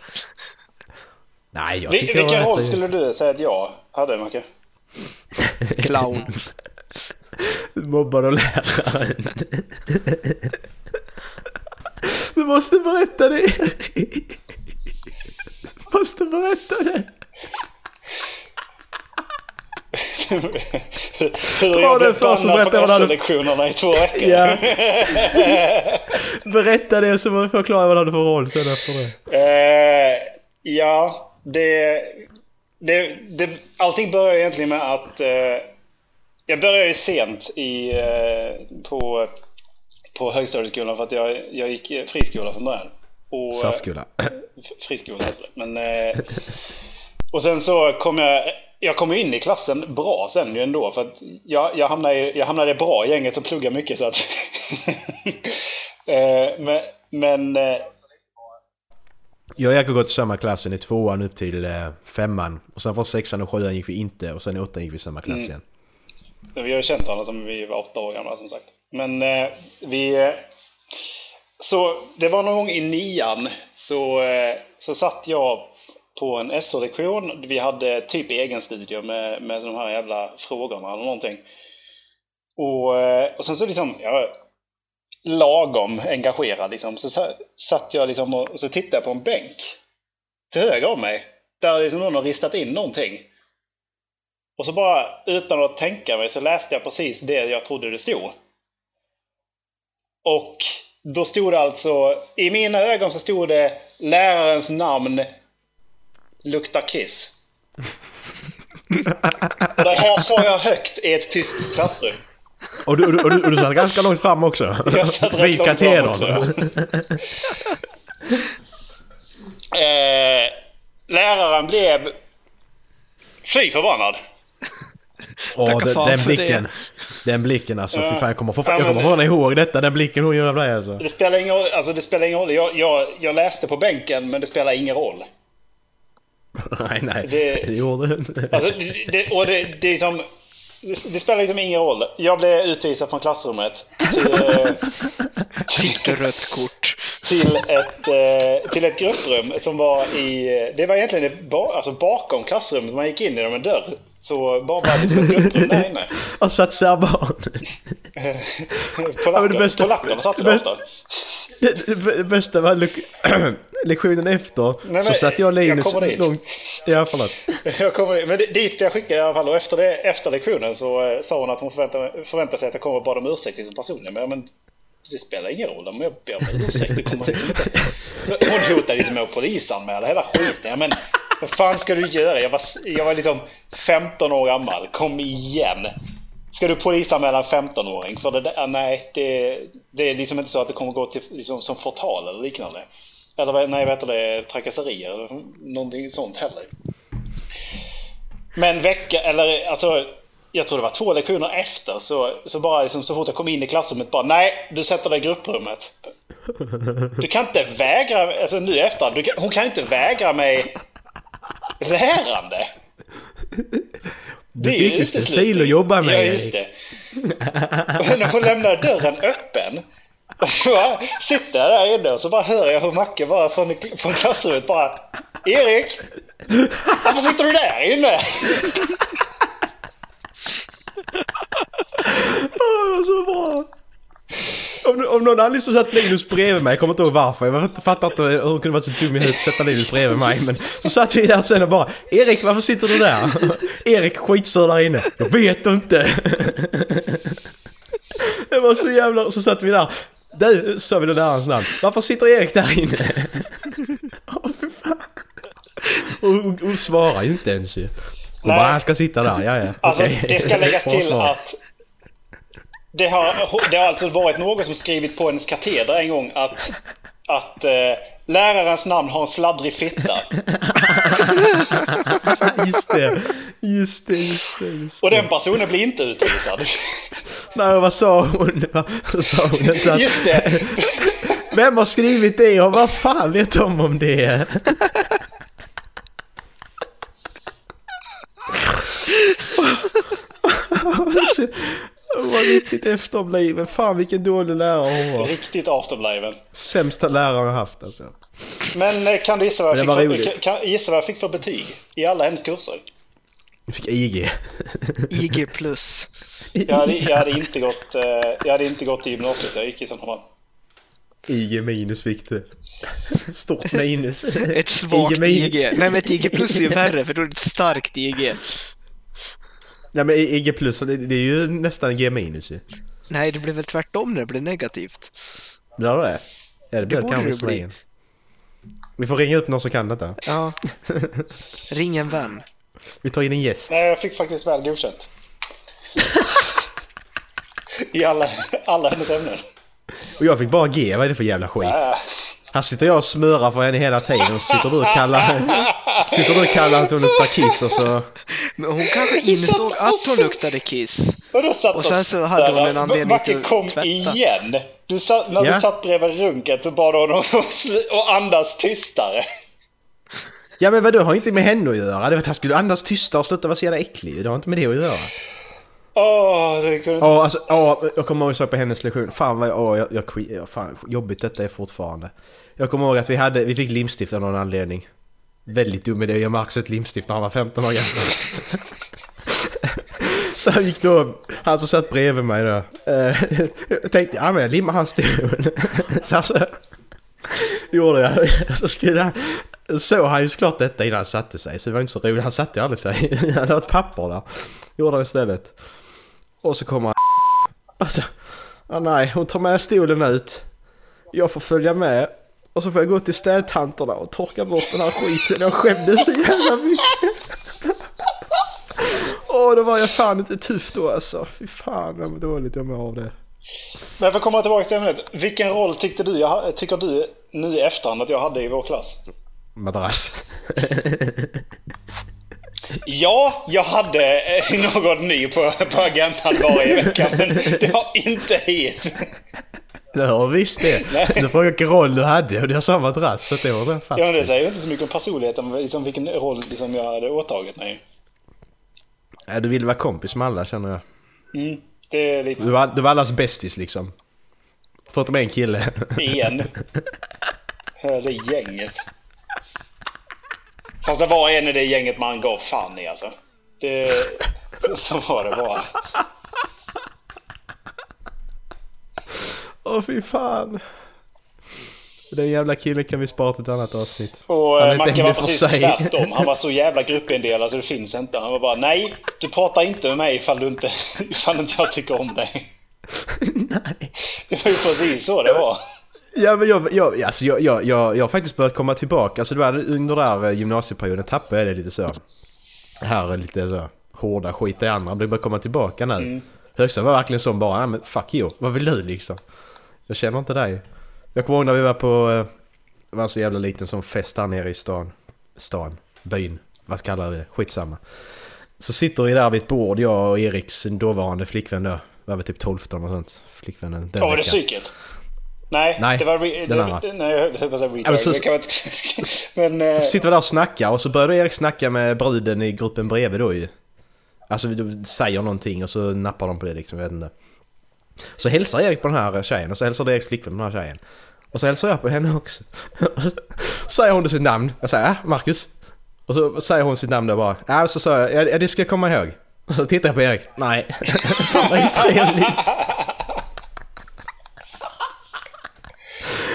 Speaker 10: Nej, jag
Speaker 11: Vi-
Speaker 10: tycker jag
Speaker 11: Vilken
Speaker 10: var
Speaker 11: roll
Speaker 10: rätt-
Speaker 11: skulle du säga att jag hade, Macke?
Speaker 12: Clown.
Speaker 10: Mobbad av läraren. Du måste berätta det! Erik. Du måste berätta det!
Speaker 11: Hur
Speaker 10: Dra
Speaker 11: jag
Speaker 10: den
Speaker 11: blev
Speaker 10: först och
Speaker 11: bannad
Speaker 10: berätta
Speaker 11: på
Speaker 10: vad du-
Speaker 11: SO-lektionerna i två veckor.
Speaker 10: Ja. Berätta det så får vi förklara vad du hade för roll sen efter det.
Speaker 11: Eh, ja, det, det, det... Allting börjar egentligen med att... Eh, jag började ju sent i, eh, på, på högstadieskolan för att jag, jag gick eh, friskola från början. Och, eh,
Speaker 10: Särskola.
Speaker 11: f- friskola heter det. Men, eh, och sen så kom jag, jag kom ju in i klassen bra sen ju ändå. För att jag, jag, hamnade i, jag hamnade i bra gänget som pluggar mycket. Så att, eh, men, men eh,
Speaker 10: Jag och Jakob har gått i samma klassen i tvåan upp till eh, femman. Och sen från sexan och sjuan gick vi inte och sen i åttan gick vi i samma klass
Speaker 11: Mm.
Speaker 10: igen.
Speaker 11: Men Vi har ju känt varandra som vi var åtta år gamla som sagt. Men eh, vi... Eh, så det var någon gång i nian så, eh, så satt jag på en SO-lektion. Vi hade typ egen studio med, med de här jävla frågorna eller någonting. Och, eh, och sen så liksom, jag lagom engagerad liksom, så sa- satt jag liksom och, och så tittade jag på en bänk till höger om mig. Där liksom någon har ristat in någonting. Och så bara utan att tänka mig så läste jag precis det jag trodde det stod. Och då stod det alltså, i mina ögon så stod det lärarens namn luktar kiss. Och det här sa jag högt i ett tyskt klassrum.
Speaker 10: Och du, och, du, och, du, och du satt ganska långt fram också.
Speaker 11: Jag satt rätt
Speaker 10: Vid
Speaker 11: långt fram
Speaker 10: katedern.
Speaker 11: Eh, läraren blev fly förbannad.
Speaker 10: Åh,
Speaker 12: Tacka
Speaker 10: den,
Speaker 12: fan
Speaker 10: den
Speaker 12: för
Speaker 10: blicken. Den blicken alltså. Fy
Speaker 11: Ja.
Speaker 10: fan, jag kommer, få,
Speaker 11: Ja,
Speaker 10: jag
Speaker 11: men-
Speaker 10: kommer fan ihåg detta. Den blicken hon gör av dig alltså.
Speaker 11: Det spelar ingen roll. Alltså det spelar ingen roll. Jag, jag, jag läste på bänken men det spelar ingen roll.
Speaker 10: Nej, nej.
Speaker 11: Det-
Speaker 10: Det gjorde hon inte.
Speaker 11: Alltså, det, och det, det, är liksom, det, det spelar liksom ingen roll. Jag blev utvisad från klassrummet till, eh,
Speaker 12: Fick du rött kort?
Speaker 11: till, ett, eh, till ett grupprum som var i... eh, Det var egentligen det, ba- alltså bakom klassrummet. Man gick in genom en dörr. Så bara var det som ett grupprum där inne.
Speaker 10: Och satt särbarn. Ja, men det
Speaker 11: Polacker,
Speaker 10: bästa-
Speaker 11: Polackerna satt
Speaker 10: det
Speaker 11: där
Speaker 10: bästa-
Speaker 11: ofta.
Speaker 10: Det, det bä- bästa var lek- lektionen efter
Speaker 11: Nej,
Speaker 10: så
Speaker 11: men
Speaker 10: satt jag och
Speaker 11: jag
Speaker 10: Linus
Speaker 11: kommer dit.
Speaker 10: långt... Ja, förlåt.
Speaker 11: Jag kommer, men det- dit jag skickade i alla fall. Och efter, det, efter lektionen så eh, sa hon att hon förväntade, förväntade sig att jag kommer och bad om ursäkt liksom personligen. Men, jag, men det spelar ingen roll om jag ber om ursäkt. Det kommer liksom inte. Hon hotade liksom med att polisanmäla hela skiten. Ja, men vad fan ska du göra? Jag var, jag var liksom 15 år gammal. Kom igen! Ska du polisanmäla en 15-åring? För det där, nej, det, det är liksom inte så att det kommer gå till, liksom, som förtal eller liknande. Eller vad- nej, vad heter det? Trakasserier eller någonting sånt heller. Men vecka, eller alltså, jag tror det var två lektioner efter så, så bara liksom, så fort jag kom in i klassrummet bara nej, du sätter dig i grupprummet. Du kan inte vägra, alltså nu efter, du, kan- hon kan inte vägra mig lärande.
Speaker 10: Du
Speaker 11: är ju
Speaker 10: fick ju
Speaker 11: uteslutning.
Speaker 10: stencil att jobba med,
Speaker 11: Ja, just det. När hon lämnar dörren öppen. Och så bara sitter jag där inne och så bara hör jag hur Macke bara från, från klassrummet bara Erik! Varför sitter du där inne?
Speaker 10: Åh, så bra! Om, om någon hade liksom satt Linus bredvid mig, jag kommer inte ihåg varför, jag fattar inte hur hon kunde vara så dum i huvudet att sätta Linus bredvid mig. Men så satt vi där sen och bara Erik varför sitter du där? Erik skitsur där inne. Jag vet inte. Det var så jävla... Så satt vi där. Du, sa vi då lärarens namn. Varför sitter Erik där inne? Åh fy fan. Och hon, hon svarar ju inte ens ju. Hon
Speaker 11: Nej.
Speaker 10: bara, han ska sitta där, ja ja.
Speaker 11: Alltså
Speaker 10: okej."
Speaker 11: det ska läggas
Speaker 10: Bra
Speaker 11: till
Speaker 10: svar.
Speaker 11: att det har, det har alltså varit någon som skrivit på hennes kateder en gång att, att eh, lärarens namn har en sladdrig fitta.
Speaker 10: just det, just det, just det. Just
Speaker 11: Och den personen blir inte utvisad.
Speaker 10: det. Nej, vad sa hon? Vad sa hon? Inte att,
Speaker 11: Just det!
Speaker 10: Vem har skrivit det och vad fan vet de om det? Hon var riktigt efterbliven. Fan vilken dålig lärare hon var.
Speaker 11: Riktigt afterbliven.
Speaker 10: Sämsta läraren jag haft alltså.
Speaker 11: Men eh, kan du gissa vad, jag
Speaker 10: Men det
Speaker 11: fick
Speaker 10: var
Speaker 11: för,
Speaker 10: roligt.
Speaker 11: kan, kan, gissa vad jag fick för betyg i alla hennes kurser?
Speaker 10: Du fick IG.
Speaker 12: IG plus.
Speaker 11: Jag hade, jag hade, inte, gått, eh, jag hade inte gått i gymnasiet, jag gick i Central Malmö.
Speaker 10: IG minus fick du. Stort minus.
Speaker 12: Ett svagt
Speaker 10: min-
Speaker 12: IG. Nej men ett IG plus är ju värre för då är det ett starkt IG.
Speaker 10: Nej men IG plus, det, det är ju nästan G minus ju.
Speaker 12: Nej det blir väl tvärtom när det blir negativt.
Speaker 10: Blir det det? Ja, det blir det
Speaker 12: borde det
Speaker 10: kanske som
Speaker 12: bli.
Speaker 10: ingen. Vi får ringa upp någon som kan detta.
Speaker 12: Ja. Ring en vän.
Speaker 10: Vi tar in en gäst.
Speaker 11: Nej, jag fick faktiskt väl godkänt. I alla, alla hennes ämnen.
Speaker 10: Och jag fick bara G, vad är det för jävla skit?
Speaker 11: Äh,
Speaker 10: Här sitter jag och smörar för henne hela tiden och så sitter du och kallar... sitter du och kallar att hon luktar kiss och så...
Speaker 12: Men hon kanske insåg att hon luktade kiss.
Speaker 11: och då satt
Speaker 12: Och sen så hade hon en anledning till
Speaker 11: Macke kom
Speaker 12: att tvätta.
Speaker 11: igen! Du satt, när
Speaker 10: Ja.
Speaker 11: du satt bredvid runket så bad hon honom att sl- att andas tystare.
Speaker 10: Ja men vadå, har inte med henne att göra? Det var att han skulle andas tystare och sluta vara så jävla äcklig Det har inte med det att göra.
Speaker 11: Åh, det kunde
Speaker 10: Ja, alltså, ja, jag kommer ihåg så på hennes lektion. Fan vad ja, jag, jag, skit- ja, fan, jobbigt detta är fortfarande. Jag kommer ihåg att vi, hade, vi fick limstift av någon anledning. Väldigt dum idé att ge Marcus ett limstift när han var 15 år gammal. Så han gick då, han som satt bredvid mig då. eh, Jag tänkte, ja men jag limmar hans stol. Så alltså, gjorde jag. Så skulle han, såg han ju såklart detta innan han satte sig. Så det var inte så roligt, han satte ju aldrig sig. Han hade ett papper där. Gjorde han istället. Och så kommer han och
Speaker 11: Alltså.
Speaker 10: så, ah, nej, hon tar med stolen ut. Jag får följa med. Och så får jag gå till städtanterna och torka bort den här skiten. Jag skämdes så jävla mycket. Åh, då var jag fan inte tuff då alltså. Fy fan vad dåligt jag mår av det.
Speaker 11: Men för att komma tillbaka till ämnet. Vilken roll tyckte du, jag, ha- tycker du nu i efterhand att jag hade i vår klass?
Speaker 10: Madrass.
Speaker 11: Ja, jag hade eh, någon ny på, på agendan varje vecka, men det har inte hit.
Speaker 10: Du hör visst det. Du frågar vilken roll du hade och du har samma madrass. Så det var den fast.
Speaker 11: Ja, men det
Speaker 10: i.
Speaker 11: säger ju inte så mycket om personligheten, men liksom vilken roll liksom jag hade åtagit mig.
Speaker 10: Ja, Äh, du ville vara kompis med alla känner jag.
Speaker 11: Mm, det är lite...
Speaker 10: Du var, du var allas bästis liksom. Förutom en kille.
Speaker 11: En. Ja, Det är gänget. Fast det var en i det gänget man gav fan i alltså. Det... Så var det bara.
Speaker 10: Åh fy fan. Den jävla killen kan vi spara till ett annat avsnitt.
Speaker 11: Och
Speaker 10: Han är
Speaker 11: eh,
Speaker 10: inte
Speaker 11: Macke var
Speaker 10: hemlig för
Speaker 11: precis
Speaker 10: sig.
Speaker 11: tvärtom. Han var så jävla gruppindelad så det finns inte. Han var bara nej, du pratar inte med mig ifall du inte, ifall inte jag tycker om dig.
Speaker 10: Nej.
Speaker 11: Det var ju precis så det var.
Speaker 10: Ja men jag, jag, alltså, jag, jag, jag, jag har faktiskt börjat komma tillbaka. Alltså det var under den där eh, gymnasieperioden tappade jag det lite så. Här är lite så hårda skit i andra. Men det börjar komma tillbaka nu. Högsta var verkligen sån bara, "Ja, men fuck you. Vad vill du liksom? Jag känner inte dig. Jag kommer ihåg när vi var på, eh, det var en så jävla liten sån fest här nere i stan. Stan? Byn? Vad kallar vi det? Skitsamma. Så sitter vi där vid ett bord, jag och Eriks dåvarande flickvän då. Var väl typ 12 och sånt. Flickvännen den
Speaker 11: Ja, var det
Speaker 10: veckan.
Speaker 11: psyket? Nej,
Speaker 10: Nej,
Speaker 11: det var... Re-
Speaker 10: den
Speaker 11: det,
Speaker 10: andra.
Speaker 11: Nej, jag höll på att säga
Speaker 10: Ja, men så-
Speaker 11: retard. Det kan vara ett- Men... eh,
Speaker 10: Så sitter vi där och snackar och så började Erik snacka med bruden i gruppen bredvid då ju. Alltså de säger någonting och så nappar de på det liksom, jag vet inte. Så hälsar Erik på den här tjejen och så hälsar Eriks flickvän på den här tjejen. Och så hälsar jag på henne också. Så säger hon då sitt namn. Jag säger äh, Marcus. Och så säger hon sitt namn då bara. Ja, äh, så sa jag, ja, det ska jag komma ihåg. Och så tittar jag på Erik. Nej. Fan vad otrevligt.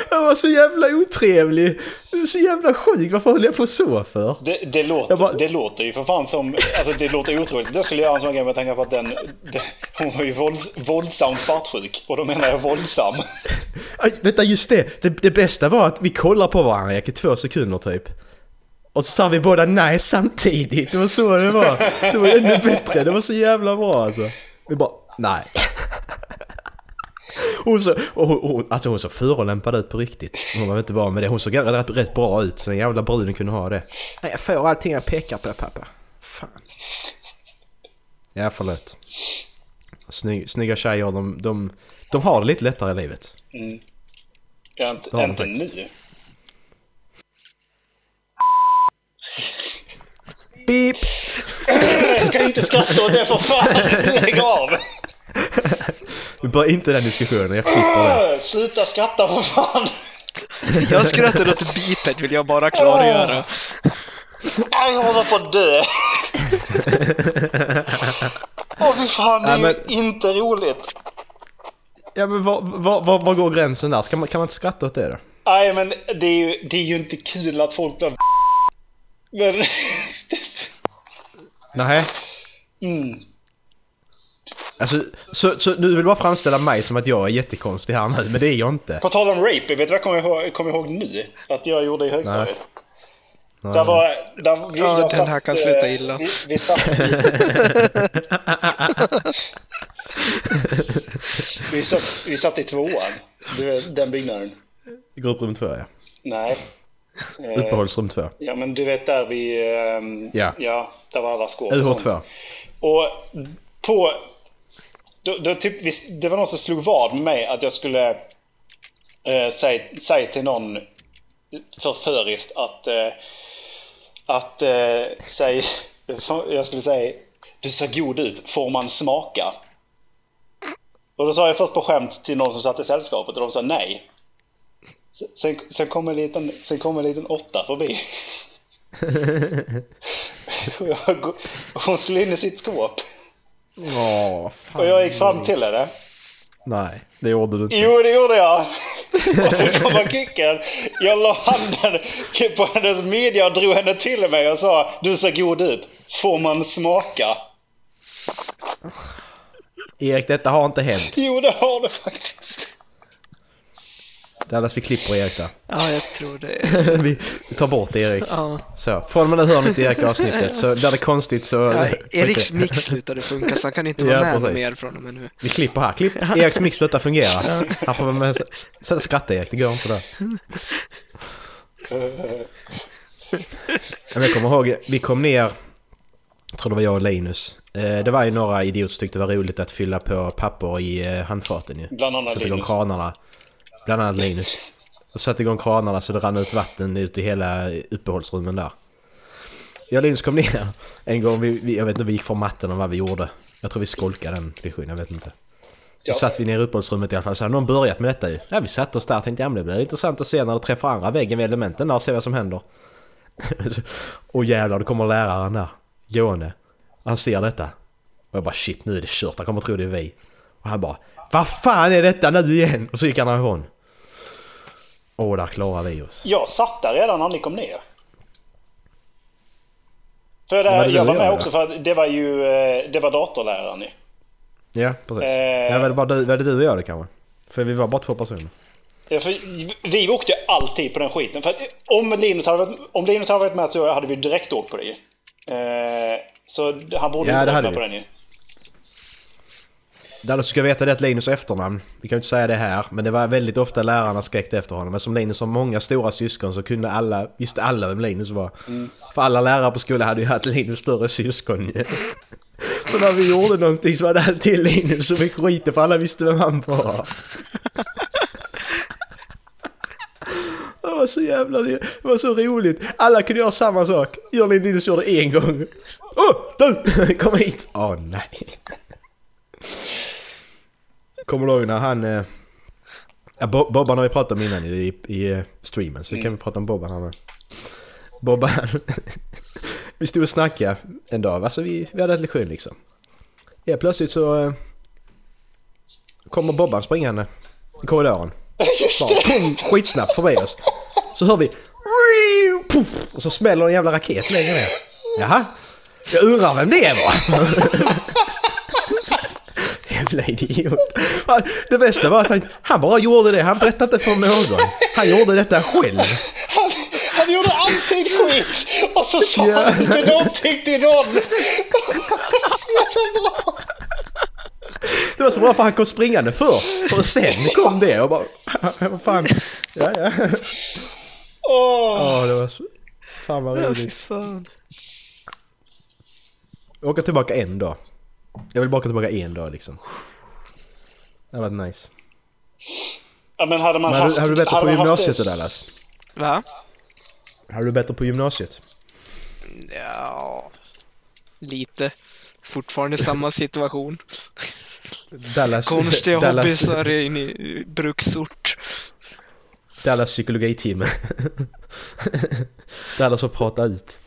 Speaker 10: Jag var så jävla otrevlig. Du är så jävla sjuk. Varför höll jag på så för?
Speaker 11: Det, det, låter,
Speaker 10: Jag bara-
Speaker 11: det låter ju för fan som... Alltså det låter otroligt. Det skulle jag göra en sån grej med tanke på att den... Det, hon var ju vålds, våldsamt svartsjuk. Och då menar jag våldsam.
Speaker 10: Aj, vänta, just det. det. Det bästa var att vi kollar på varandra Erik, i två sekunder typ. Och så sa vi båda nej samtidigt. Det var så det var. Det var ännu bättre. Det var så jävla bra alltså. Vi bara nej. Hon så, och hon, hon, alltså hon såg förolämpad ut på riktigt. Hon var inte van med det. Hon såg rätt, rätt bra ut. Så den jävla bruden kunde ha det. Nej, jag får allting jag pekar på pappa. Fan. Ja, förlåt. Sny, snygga tjejer, de, de, de har det lite lättare i livet.
Speaker 11: Mm. Ja, inte,
Speaker 10: Det har de
Speaker 11: inte
Speaker 10: faktiskt.
Speaker 11: nu.
Speaker 10: Beep!
Speaker 11: Jag ska inte skratta åt det för fan! Lägg av!
Speaker 10: Vi börjar inte den diskussionen, jag klipper det.
Speaker 11: Öh, Sluta skratta för fan!
Speaker 12: Jag skrattar åt beepet vill jag bara klargöra.
Speaker 11: Aj, Jag håller på att dö! Åh fy fan, det är
Speaker 10: Nej,
Speaker 11: ju inte roligt!
Speaker 10: Ja men var, var, var, var går gränsen där? Ska man, kan man inte skratta åt det då?
Speaker 11: Nej men det är ju, det är ju inte kul att folk blir Men...
Speaker 10: Nej.
Speaker 11: Mm.
Speaker 10: Alltså, så, så du vill bara framställa mig som att jag är jättekonstig här nu, men det är jag inte.
Speaker 11: På tal om rape, vet du vad jag kommer ihåg, kom ihåg nu? Att jag gjorde i högstadiet.
Speaker 10: Nej.
Speaker 11: Där var... Där, vi,
Speaker 12: Ja,
Speaker 11: jag
Speaker 12: den här kan
Speaker 11: eh,
Speaker 12: sluta illa.
Speaker 11: Vi, vi satt i, vi, satt, vi satt i tvåan. Du vet, den byggnaden.
Speaker 10: Grupprum två ja.
Speaker 11: Nej. Eh,
Speaker 10: Uppehållsrum två.
Speaker 11: Ja, men du vet där vi... ehm,
Speaker 10: Ja.
Speaker 11: ja där var alla skåp och sånt.
Speaker 10: UH2.
Speaker 11: Och på... Då, då typ, visst, det var någon som slog vad med mig att jag skulle eh, säga, säga till någon förföriskt att... Eh, att eh, säg, Jag skulle säga du ser god ut, får man smaka? Och då sa jag först på skämt till någon som satt i sällskapet och de sa nej. S- Sen, sen kom en liten, sen kom en liten åtta förbi. Och jag, gå- och hon skulle in i sitt skåp.
Speaker 10: Åh, fan.
Speaker 11: Och jag gick fram till henne.
Speaker 10: Nej, det gjorde du inte.
Speaker 11: Jo, det gjorde jag! Och då kom han kicken. Jag la handen på hennes midja och drog henne till mig och sa Du ser god ut. Får man smaka?
Speaker 10: Erik, detta har inte hänt.
Speaker 11: Jo, det har det faktiskt.
Speaker 10: Dallas, vi klipper Erik där.
Speaker 12: Ja, jag tror det.
Speaker 10: vi vi tar bort Erik.
Speaker 12: Ja.
Speaker 10: Så, från och med nu hör ni inte Erik i avsnittet, så blir det konstigt så...
Speaker 12: Ja, Eriks mix slutade funka så han kan inte vara
Speaker 10: Ja,
Speaker 12: med
Speaker 10: precis.
Speaker 12: mer från och med nu.
Speaker 10: Vi klipper här. Klipp Eriks mix slutar fungera. Han får vara med Sluta skratta Erik, det går inte där. Ja, men Jag kommer ihåg, vi kom ner, jag tror det var jag och Linus. Eh, Det var ju några idioter som tyckte det var roligt att fylla på papper i eh, handfaten ju.
Speaker 11: Bland annat
Speaker 10: Sätta igång
Speaker 11: Linus.
Speaker 10: kranarna. Bland annat Linus. Och satte igång kranarna så det rann ut vatten ut i hela uppehållsrummen där. Jag och Linus kom ner en gång, vi, vi, jag vet inte, vi gick från matten om vad vi gjorde. Jag tror vi skolkade den klyschan, jag vet inte.
Speaker 11: Ja.
Speaker 10: Så satt vi ner i uppehållsrummet i alla fall, så hade någon börjat med detta ju. Ja, vi satte oss där och tänkte ja, men det blir intressant att se när det träffar andra väggen vid elementen där och se vad som händer. och jävlar, då kommer läraren där, Johanne. Han ser detta. Och jag bara shit, nu är det kört, han kommer tro det är vi. Och han bara Vad fan är detta nu igen? Och så gick han härifrån. Åh, där klarar vi oss.
Speaker 11: Jag satt där redan när ni kom ner. För
Speaker 10: Men vad är
Speaker 11: där,
Speaker 10: det du
Speaker 11: jag var med
Speaker 10: gör,
Speaker 11: också
Speaker 10: då?
Speaker 11: för att det var ju eh, det var datorläraren ju.
Speaker 10: Ja, precis.
Speaker 11: Eh.
Speaker 10: Ja, var, det bara du, var det du och jag det kanske? För vi var bara två personer.
Speaker 11: Ja, Eh, för Vi åkte ju alltid på den skiten. För att eh, om, Linus hade varit, om Linus hade varit med så hade vi direkt åkt på det ju. Eh, så han borde
Speaker 10: Ja,
Speaker 11: inte
Speaker 10: det
Speaker 11: varit
Speaker 10: hade
Speaker 11: med
Speaker 10: vi.
Speaker 11: på den ju.
Speaker 10: Dallas ska veta det att Linus efternamn, vi kan ju inte säga det här, men det var väldigt ofta lärarna skrek efter honom. Men som Linus har många stora syskon så kunde alla, visste alla vem Linus var. För alla lärare på skolan hade ju haft Linus större syskon ju. Så när vi gjorde någonting så var det alltid Linus som fick skiten för alla visste vem han var. Det var så jävla... Det var så roligt. Alla kunde göra samma sak. Jörgen Linus gjorde det en gång. Åh! Du! Kom hit! Åh nej. Kommer du ihåg när han... Eh, ja, Bo- Bobban har vi pratat om innan i, i eh, streamen, så kan vi prata om Bobban här med. Bobban... vi stod och snackade en dag, alltså vi, vi hade ett lektion liksom. Ja, plötsligt så... Eh, kommer Bobban springande i korridoren. Bara, pum, skitsnabbt förbi oss. Så hör vi... Puff, och så smäller en jävla raket längre ner. Jaha? Jag undrar vem det var. jävla idiot. Han- Det bästa var att han, han bara gjorde det. Han berättade inte för någon. Han gjorde detta själv.
Speaker 11: Han, han gjorde alltid skit och så sa
Speaker 10: Ja.
Speaker 11: han inte någonting till någon. Så jävla bra.
Speaker 10: Det var så bra för han kom springande först. Och sen kom det och bara... Vad fan. Ja, ja.
Speaker 11: Åh,
Speaker 10: Ja, det var så... Fan vad
Speaker 12: Ja, fy
Speaker 10: roligt.
Speaker 12: fan.
Speaker 10: Jag åker tillbaka en dag. Jag vill bara åka tillbaka en dag liksom. Det hade varit nice.
Speaker 11: Ja, men hade man
Speaker 10: Men hade,
Speaker 11: haft...
Speaker 10: du- hade du bättre
Speaker 11: hade
Speaker 10: på
Speaker 11: man haft
Speaker 10: gymnasiet
Speaker 11: det-
Speaker 10: det där Lasse?
Speaker 12: Va?
Speaker 10: Hade du bättre på gymnasiet?
Speaker 12: Ja, lite. Fortfarande samma situation.
Speaker 10: Dallas,
Speaker 12: Konstiga
Speaker 10: Dallas,
Speaker 12: hobbysar in i bruksort.
Speaker 10: Dallas psykologitimme. Dallas får prata ut.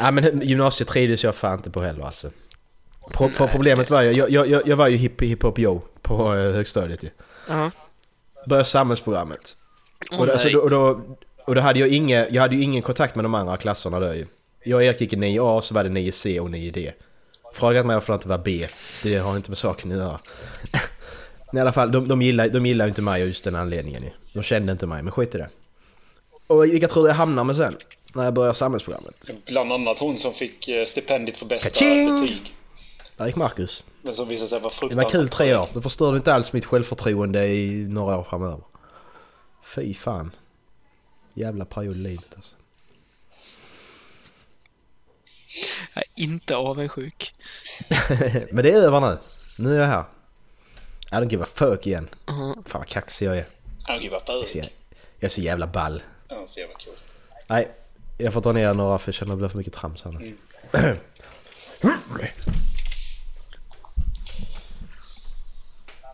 Speaker 10: Nej men gymnasiet trivdes jag fan inte på heller alltså. Pro, för problemet var ju, jag, jag, jag, jag var ju hip, hiphop yo på eh, högstadiet ju.
Speaker 12: Ja.
Speaker 10: Började samhällsprogrammet. och, då, alltså,
Speaker 12: nej.
Speaker 10: då, och, då, och då hade jag ingen, jag hade ju ingen kontakt med de andra klasserna där ju. Jag och Erik gick i 9A och så var det 9C och 9D. Frågat mig varför det inte var B, det har inte med saken att göra. Men I alla fall, de, de gillar de gillar ju inte mig av just den anledningen ju. De kände inte mig, men skit i det. Och vilka tror du jag hamnar med sen? När jag börjar samhällsprogrammet?
Speaker 11: Bland annat hon som fick eh, stipendiet för bästa
Speaker 10: Ka-ching!
Speaker 11: betyg.
Speaker 10: Där gick Marcus.
Speaker 11: Men som visade sig vara
Speaker 10: Det
Speaker 11: fruktansvärt
Speaker 10: var kul tre år, det förstörde inte alls mitt självförtroende i några år framöver. Fy fan. Jävla period i livet alltså.
Speaker 12: Jag är inte avundsjuk.
Speaker 10: Men det är över nu. Nu är jag här. I don't give a fuck igen.
Speaker 12: Mhm.
Speaker 10: Fan vad kaxig jag är.
Speaker 11: Ja, gud vad
Speaker 10: Jag är så
Speaker 11: bög.
Speaker 10: jä- jag är så jävla ball.
Speaker 11: Ja, så jävla kul.
Speaker 10: Nej, jag får dra ner några för jag känner att det blir för mycket trams här nu.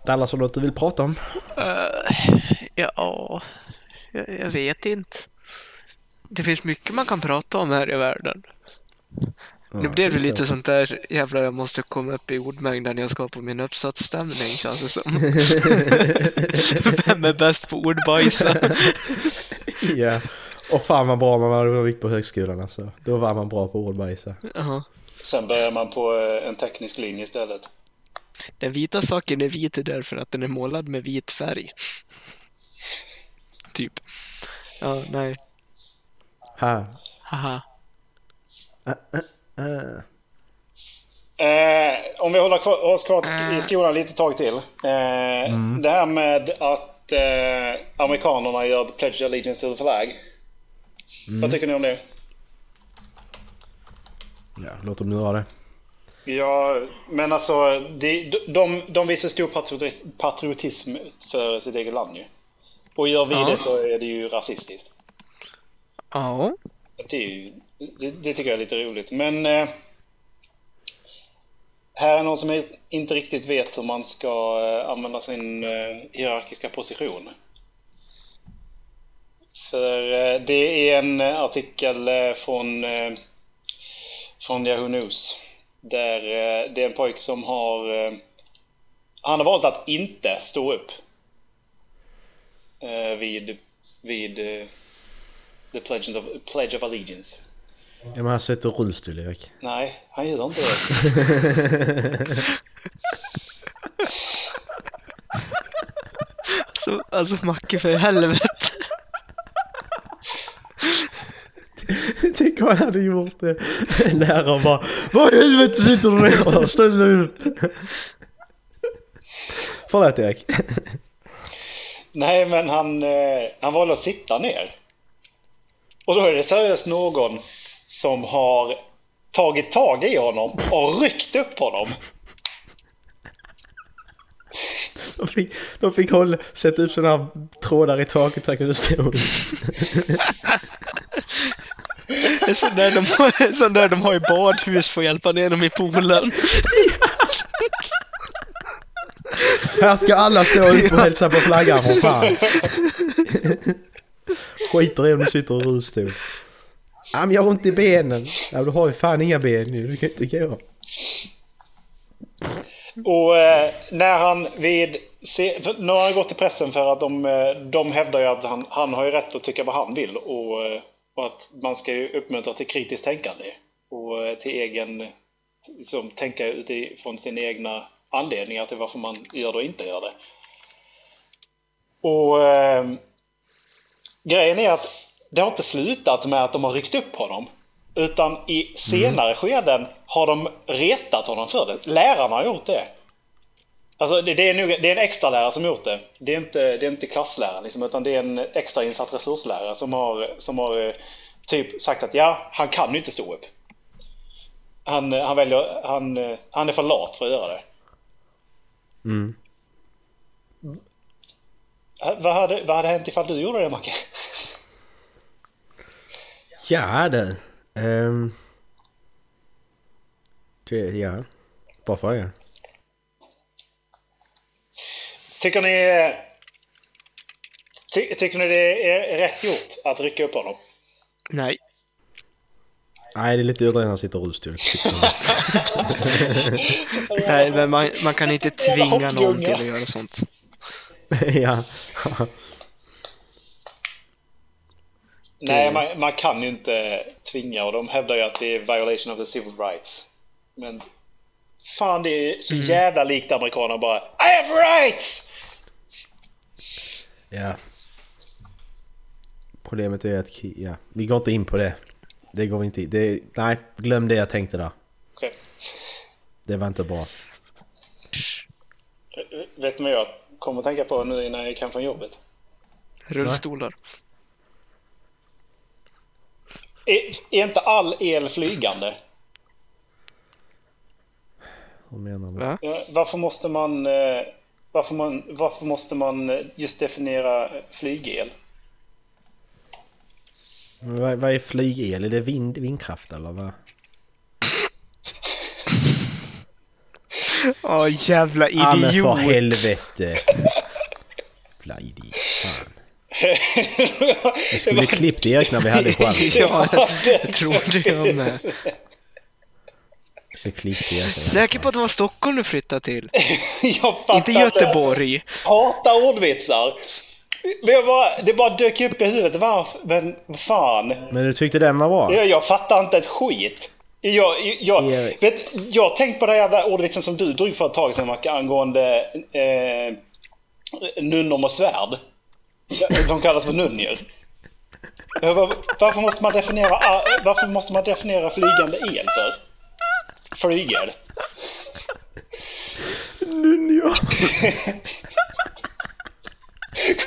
Speaker 10: Dallas, har du något du vill prata om?
Speaker 12: Ja, jag, jag vet inte. Det finns mycket man kan prata om här i världen. Nu blev det lite sånt där jävlar jag måste komma upp i ordmängden jag ska på min uppsatsstämning känns det som. Vem är bäst på ordbajsa?
Speaker 10: Ja. Och fan vad bra man var när man gick på högskolan alltså. Då var man bra på ordbajsa.
Speaker 12: Ja.
Speaker 11: Sen börjar man på eh, en teknisk linje istället.
Speaker 12: Den vita saken är vit därför att den är målad med vit färg. Typ. Ja, nej.
Speaker 10: Ha.
Speaker 12: Haha.
Speaker 10: Ah.
Speaker 11: Eh, om vi håller kvar, oss kvar sk- i skolan lite tag till. Eh, Det här med att eh, amerikanerna gör the Pledge Allegiance to the flag. Vad tycker ni om det?
Speaker 10: Ja, låt dem nu ha det.
Speaker 11: Ja, men alltså det, de, de, de visar stor patriotism, patriotism för sitt eget land ju. Och gör vi
Speaker 12: Ja.
Speaker 11: det så är det ju rasistiskt.
Speaker 12: Ja.
Speaker 11: Det, är ju, det, det tycker jag är lite roligt. Men eh, här är någon som inte riktigt vet hur man ska eh, använda sin eh, hierarkiska position. För eh, det är en eh, artikel eh, från, eh, från Yahoo News. Där eh, det är en pojke som har... Eh, han har valt att inte stå upp. Eh, vid... vid eh, The Pledge of, Pledge of Allegiance.
Speaker 10: Ja, men han sätter rullstol Erik.
Speaker 11: Nej, han gör inte det.
Speaker 12: Så, alltså Macke för helvete.
Speaker 10: Tänk om han hade gjort det. Läraren bara Vad i helvete sitter du ner? Ställ dig upp! Förlåt Erik.
Speaker 11: Nej, men han, eh, han valde att sitta ner. Och då är det seriöst någon som har tagit tag i honom och ryckt upp honom.
Speaker 10: De fick, de fick hålla, sätta upp sådana här trådar i taket så att han kunde stå upp.
Speaker 12: En sån där de, en sån där de har i badhus för att hjälpa ner dem i poolen.
Speaker 10: Här ska alla stå upp och hälsa på flaggan för fan. Skiter i om du sitter i rullstol. Ja, men jag har ont i benen. Ja, du har ju fan inga ben nu. Du kan ju inte gå.
Speaker 11: Och eh, när han vid... Se, för nu har han gått till pressen för att de, eh, de hävdar ju att han, han har ju rätt att tycka vad han vill. Och, eh, och att man ska ju uppmuntra till kritiskt tänkande. Och eh, till egen... Som tänka utifrån sina egna anledningar till varför man gör det och inte gör det. Och eh, grejen är att det har inte slutat med att de har ryckt upp honom. Utan i senare skeden har de retat honom för det. Lärarna har gjort det. Alltså det, det, är, nog, det är en extra lärare som har gjort det. Det är inte, det är inte klassläraren liksom, utan det är en extra insatt resurslärare som har, som har eh, typ sagt att ja, han kan ju inte stå upp. Han, eh, han, väljer, han, eh, han är för lat för att göra det.
Speaker 10: Mm.
Speaker 11: Eh, Vad hade, vad hade hänt ifall du gjorde det Macke?
Speaker 10: Ja du. Um, ja, bra fråga.
Speaker 11: Tycker ni, eh, ty, tycker ni det är rätt gjort att rycka upp honom?
Speaker 12: Nej.
Speaker 10: Nej, det är lite överdrivet när han sitter i rullstol.
Speaker 12: Nej, men man, man kan inte tvinga någon till att göra sånt.
Speaker 10: ja.
Speaker 11: Nej, man, man kan ju inte tvinga och de hävdar ju att det är violation of the civil rights. Men fan, det är
Speaker 12: Mm.
Speaker 11: så jävla likt amerikaner bara I have rights!
Speaker 10: ja. Problemet är att ki- ja, vi går inte in på det. Det går vi inte in. det, Nej, glöm det jag tänkte där.
Speaker 11: Okej.
Speaker 10: Det var inte bra.
Speaker 11: Vet ni vad jag kommer att tänka på nu innan jag kan från jobbet?
Speaker 12: Rullstolar.
Speaker 11: Är, är inte all el flygande?
Speaker 10: Vad menar du?
Speaker 12: Va?
Speaker 11: Ja, Varför måste man... eh, Varför, man, varför måste man eh, just definiera flygel?
Speaker 10: Men Vad, vad är flygel? Är det vind, vindkraft eller vad?
Speaker 12: Åh, jävla
Speaker 10: Ja men
Speaker 12: idiot!
Speaker 10: för helvete! Jävla idiot. Fan. Vi skulle klippt Erik när vi hade chans.
Speaker 12: ja, jag trodde jag med.
Speaker 10: Vi skulle klippt Erik.
Speaker 12: Säker på att det var Stockholm du flyttade till?
Speaker 11: Jag fattar
Speaker 12: Inte Göteborg?
Speaker 11: hatar ordvitsar. Men jag bara, det bara dök upp i huvudet. Varför? Men vad fan.
Speaker 10: Men du tyckte den var bra?
Speaker 11: Jag, jag fattar inte ett skit. Jag, jag, jag,
Speaker 10: Erik.
Speaker 11: vet, jag har tänkt på den jävla ordvitsen som du drog för ett tag sedan Macke, angående eh, nunnor med svärd. De kallas för nunnior. Jag bara, Varför måste man definiera, ah, varför måste man definiera flygande el för? Flygel.
Speaker 10: Nunja!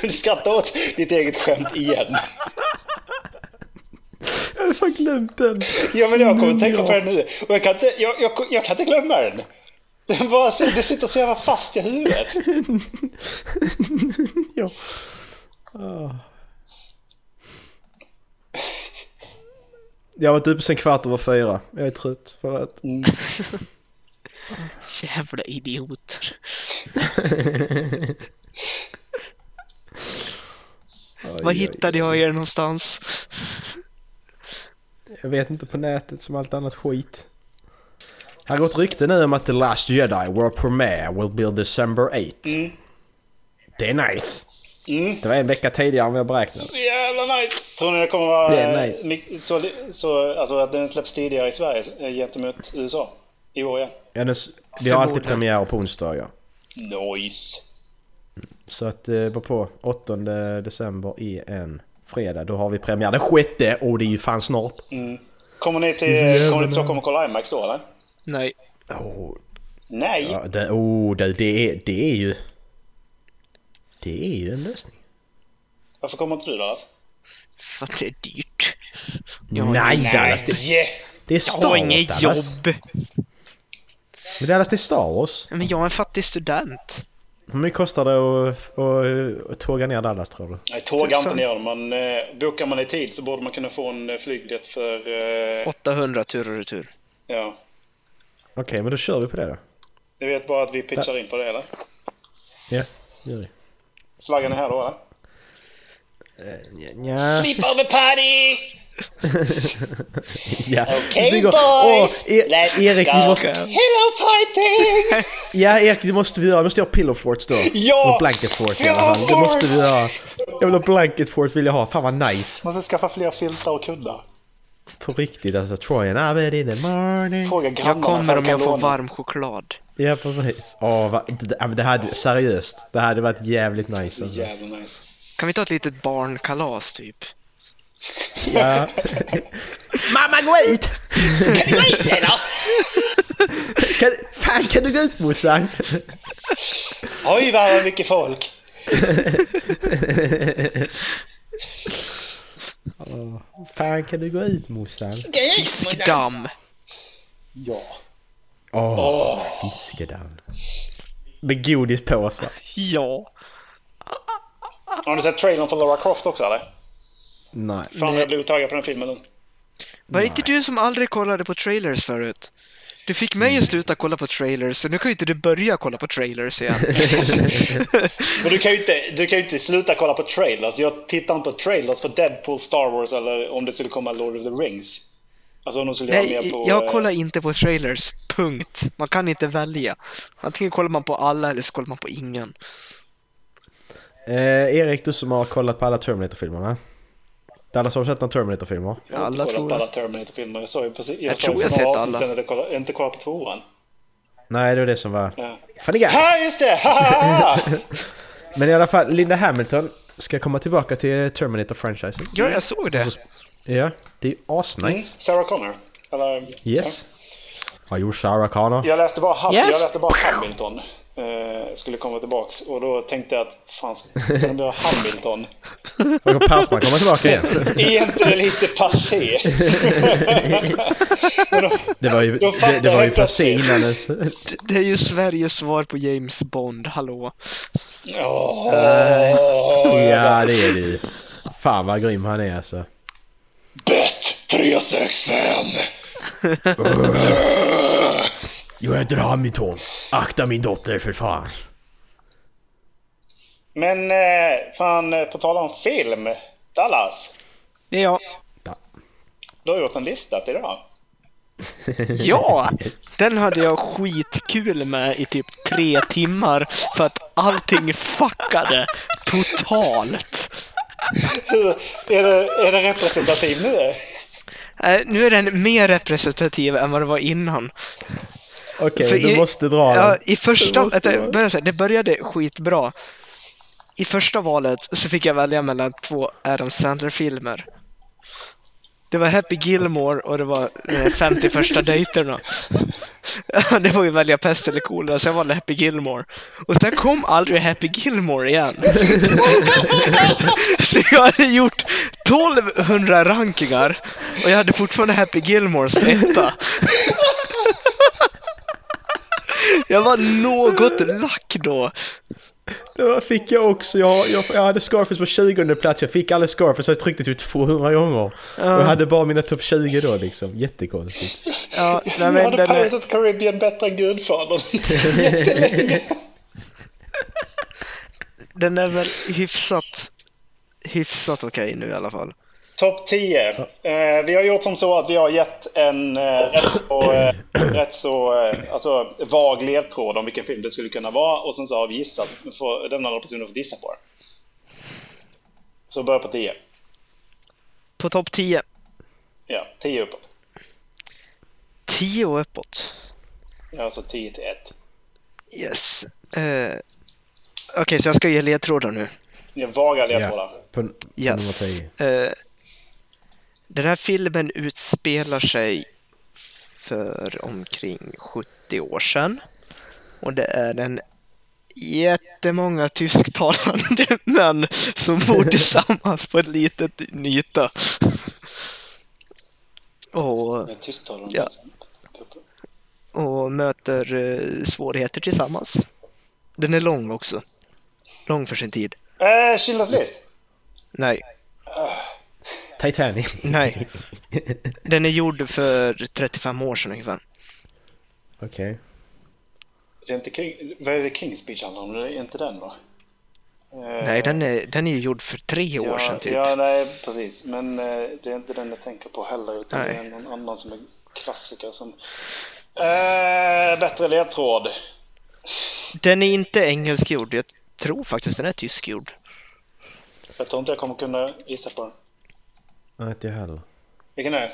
Speaker 11: Kunde skratta åt ditt eget skämt igen.
Speaker 10: Jag hade fan glömt den!
Speaker 11: Ja men jag kommer att tänka på den nu och jag kan inte, jag, jag, jag kan inte glömma den. Den bara, så- det sitter så jävla fast i huvudet.
Speaker 10: Ja. Jag har varit uppe sen kvart över fyra. Jag är trött för att...
Speaker 12: Jävla idioter. Vad hittade jag er någonstans?
Speaker 10: Jag vet inte på nätet som allt annat skit. Här går ett rykte nu om att The Last Jedi World Premiere will be on December 8.
Speaker 12: Mm.
Speaker 10: Det är nice!
Speaker 11: Mm.
Speaker 10: Det var en vecka tidigare än vad jag beräknade.
Speaker 11: Så jävla nice! Tror ni det kommer vara...
Speaker 10: Det är nice.
Speaker 11: mycket- Så, så, alltså att den släpps tidigare i Sverige eh, gentemot USA? I år igen?
Speaker 10: Ja, den, s- vi har alltid
Speaker 12: Förmodligen.
Speaker 10: premiär på onsdagar.
Speaker 11: Nice!
Speaker 10: Så att eh, var på 8 december är en fredag. Då har vi premiär den sjätte och det är ju fan snart.
Speaker 12: Mm.
Speaker 11: Kommer ni
Speaker 10: Mm.
Speaker 11: till, kommer ni till Stockholm och kolla IMAX då eller?
Speaker 12: Nej.
Speaker 10: Åh,
Speaker 11: Nej!
Speaker 10: ja, det, oh, det, det, är, det är ju... Det är ju en lösning.
Speaker 11: Varför kommer inte du Dallas?
Speaker 12: För att det är dyrt.
Speaker 10: nej, Dallas! Det,
Speaker 11: Yeah.
Speaker 10: det är
Speaker 12: Jag
Speaker 10: Star
Speaker 12: har
Speaker 10: Wars
Speaker 12: inget
Speaker 10: Dallas.
Speaker 12: jobb.
Speaker 10: Men Dallas, det är Star Wars.
Speaker 12: Men jag är en fattig student.
Speaker 10: Hur mycket kostar det att, att, att tåga ner Dallas tror du?
Speaker 11: Nej, tåga inte ner dem, men eh, bokar man i tid så borde man kunna få en eh, flygbiljett för... Eh,
Speaker 12: 800 tur och retur.
Speaker 11: ja.
Speaker 10: Okej, men då kör vi på det då.
Speaker 11: Ni vet bara att vi pitchar in på det eller?
Speaker 10: Ja, gör vi.
Speaker 11: Slaggan är här då eller?
Speaker 10: Nja.
Speaker 4: Sleepover party!
Speaker 10: ja.
Speaker 4: Okej,
Speaker 10: Vi går-
Speaker 4: boys.
Speaker 10: Åh, E-
Speaker 4: Let's
Speaker 10: Erik, vi
Speaker 4: go.
Speaker 10: måste...
Speaker 4: Hello fighting!
Speaker 10: Ja, Erik, det måste vi göra. Vi måste göra pillow forts då.
Speaker 11: Ja!
Speaker 10: Och blanket fort i alla fall.
Speaker 11: Pillow
Speaker 10: Det måste vi göra. Jag vill ha blanket fort, vill jag ha. Fan vad nice.
Speaker 11: Måste skaffa fler filtar och kuddar.
Speaker 10: På riktigt alltså. Trojan, I've been in the morning.
Speaker 11: Fråga grannarna
Speaker 12: Jag kommer
Speaker 11: ifall
Speaker 12: om
Speaker 11: de
Speaker 12: jag
Speaker 11: kan
Speaker 12: får
Speaker 11: låna.
Speaker 12: varm choklad.
Speaker 10: Ja, precis. Åh, vad- det- det, ja, men det hade, seriöst. Det hade varit jävligt nice alltså.
Speaker 11: Jävla nice.
Speaker 12: Kan vi ta ett litet barnkalas typ?
Speaker 10: Ja. Mamma, gå ut! Kan, fan, kan du gå ut morsan?
Speaker 11: Oj vad mycket folk!
Speaker 10: Åh, fan, kan du gå ut morsan?
Speaker 12: Fiskdamm!
Speaker 11: Ja.
Speaker 10: Åh, fiskedamm. Med godispåsar.
Speaker 12: Ja.
Speaker 11: Har ni sett trailern för Lara Croft också eller?
Speaker 10: Nej.
Speaker 11: Fan jag blev taggad på den filmen nu.
Speaker 12: Var det inte du som aldrig kollade på trailers förut? Du fick mig att sluta kolla på trailers, så nu kan ju inte du börja kolla på trailers igen.
Speaker 11: Men du kan ju inte, du kan ju inte sluta kolla på trailers. Jag tittar inte på trailers för Deadpool, Star Wars eller om det skulle komma Lord of the Rings. Alltså om de skulle göra mer
Speaker 12: Nej,
Speaker 11: på...
Speaker 12: jag
Speaker 11: eh,
Speaker 12: kollar inte på trailers. Punkt. Man kan inte välja. Antingen kollar man på alla eller så kollar man på ingen.
Speaker 10: Eh, Erik, du som har kollat på alla Terminator-filmerna. Dallas, har du sett några Terminator-filmer?
Speaker 11: Jag har inte
Speaker 12: Alla
Speaker 11: kollat
Speaker 12: tror
Speaker 11: på
Speaker 12: jag.
Speaker 11: alla Terminator-filmer. Jag sa ju precis...
Speaker 12: Jag
Speaker 11: sa
Speaker 12: tror
Speaker 11: för
Speaker 12: jag
Speaker 11: några
Speaker 12: sett
Speaker 11: avsnitt
Speaker 12: alla.
Speaker 11: sedan att jag kollade- inte kollat på tvåan.
Speaker 10: Nej, det var det som var...
Speaker 11: Ja.
Speaker 10: Funny guy!
Speaker 11: Ha, just det! Ha, ha, ha.
Speaker 10: Men i alla fall, Linda Hamilton ska komma tillbaka till Terminator-franchisen.
Speaker 12: Ja, jag såg det.
Speaker 10: Ja, det är ju asnice.
Speaker 11: Mm, Sarah Connor. Eller,
Speaker 10: Yes. Har gjort Sarah Connor.
Speaker 11: Jag läste bara, Ham-
Speaker 12: Yes.
Speaker 11: jag läste bara Hamilton. Eh, skulle komma tillbaks och då tänkte jag att fan ska ska de göra Hamilton?
Speaker 10: Och Persman kommer tillbaka igen.
Speaker 11: Är inte det lite passé?
Speaker 10: Det var ju,
Speaker 11: Då fattar
Speaker 10: det, det var ju
Speaker 11: jag plötsligt.
Speaker 10: passé innan dess.
Speaker 12: Det- Det är ju Sveriges svar på James Bond, hallå.
Speaker 11: Åh,
Speaker 10: Ja, det är det ju. Fan vad grym han är alltså.
Speaker 11: bet 365!
Speaker 10: Jag heter Hamilton. Akta min dotter för fan.
Speaker 11: Men eh, fan, eh, på tal om film. Dallas,
Speaker 12: Det är jag.
Speaker 11: du har gjort en lista till idag.
Speaker 12: Ja! Den hade jag skitkul med i typ tre timmar för att allting fuckade totalt.
Speaker 11: Hur- är, det, är det representativ nu?
Speaker 12: Eh, Nu är den mer representativ än vad det var innan.
Speaker 10: Okej,
Speaker 12: För
Speaker 10: du
Speaker 12: i-
Speaker 10: måste dra
Speaker 12: Ja,
Speaker 10: den.
Speaker 12: i första,
Speaker 10: Du måste
Speaker 12: vänta,
Speaker 10: dra.
Speaker 12: jag börjar säga, det började skitbra. I första valet så fick jag välja mellan två Adam Sandler-filmer. Det var Happy Gilmore och det var eh, 50 första dejterna. Det var ju välja pest eller kolera, så jag valde Happy Gilmore. Och sen kom aldrig Happy Gilmore igen. Så jag hade gjort 1200 rankingar och jag hade fortfarande Happy Gilmore som etta. Jag var något lack då.
Speaker 10: Det fick jag också. Jag, jag, jag hade Scarface på 20 plats. Jag fick alla Scarface och jag tryckte typ 200 gånger. Och jag hade bara mina topp 20 då liksom. Jättekonstigt.
Speaker 12: Ja, nej,
Speaker 11: Nu
Speaker 12: men
Speaker 11: hade
Speaker 12: den
Speaker 11: Pirates
Speaker 12: är,
Speaker 11: of the Caribbean bättre än Gudfadern.
Speaker 12: den är väl hyfsat, hyfsat okej nu i alla fall.
Speaker 11: Topp 10. Eh, vi har gjort som så att vi har gett en eh, rätt så, eh, rätt så eh, alltså, vag ledtråd om vilken film det skulle kunna vara och sen så har vi gissat. För, den andra personen får gissa på den. Så börja på 10.
Speaker 12: På topp 10.
Speaker 11: Ja, 10 uppåt.
Speaker 12: 10 och uppåt.
Speaker 11: Ja, Alltså 10 till 1.
Speaker 12: Yes. Eh, okej, så jag ska ge ledtrådar nu.
Speaker 11: Ja, vaga ledtrådar.
Speaker 10: Ja, på, på
Speaker 12: Yes.
Speaker 10: nummer 10.
Speaker 12: Eh, den här filmen utspelar sig för omkring 70 år sedan. Och det är en jättemånga tysktalande män som bor tillsammans på ett litet nyta. Och,
Speaker 11: Men Tysktalande.
Speaker 12: Ja. och möter eh, svårigheter tillsammans. Den är lång också. Lång för sin tid.
Speaker 11: Eh, Schindler's list.
Speaker 12: Nej.
Speaker 10: Titanic.
Speaker 12: Nej. Den är gjord för 35 år sedan ungefär.
Speaker 10: Okej.
Speaker 11: Det är inte King, vad är det King's Speech handlar om? Det är inte den va?
Speaker 12: Nej, den är, den är ju gjord för tre år
Speaker 11: ja,
Speaker 12: sedan typ.
Speaker 11: Ja, nej precis. Men eh, det är inte den jag tänker på heller. Utan
Speaker 12: Nej.
Speaker 11: det är någon annan som är klassiker som... Eh, bättre ledtråd.
Speaker 12: Den är inte engelskgjord. Jag tror faktiskt den är tyskgjord.
Speaker 11: Jag tror inte jag kommer kunna gissa på den.
Speaker 10: Nej, inte jag heller.
Speaker 11: Vilken är det?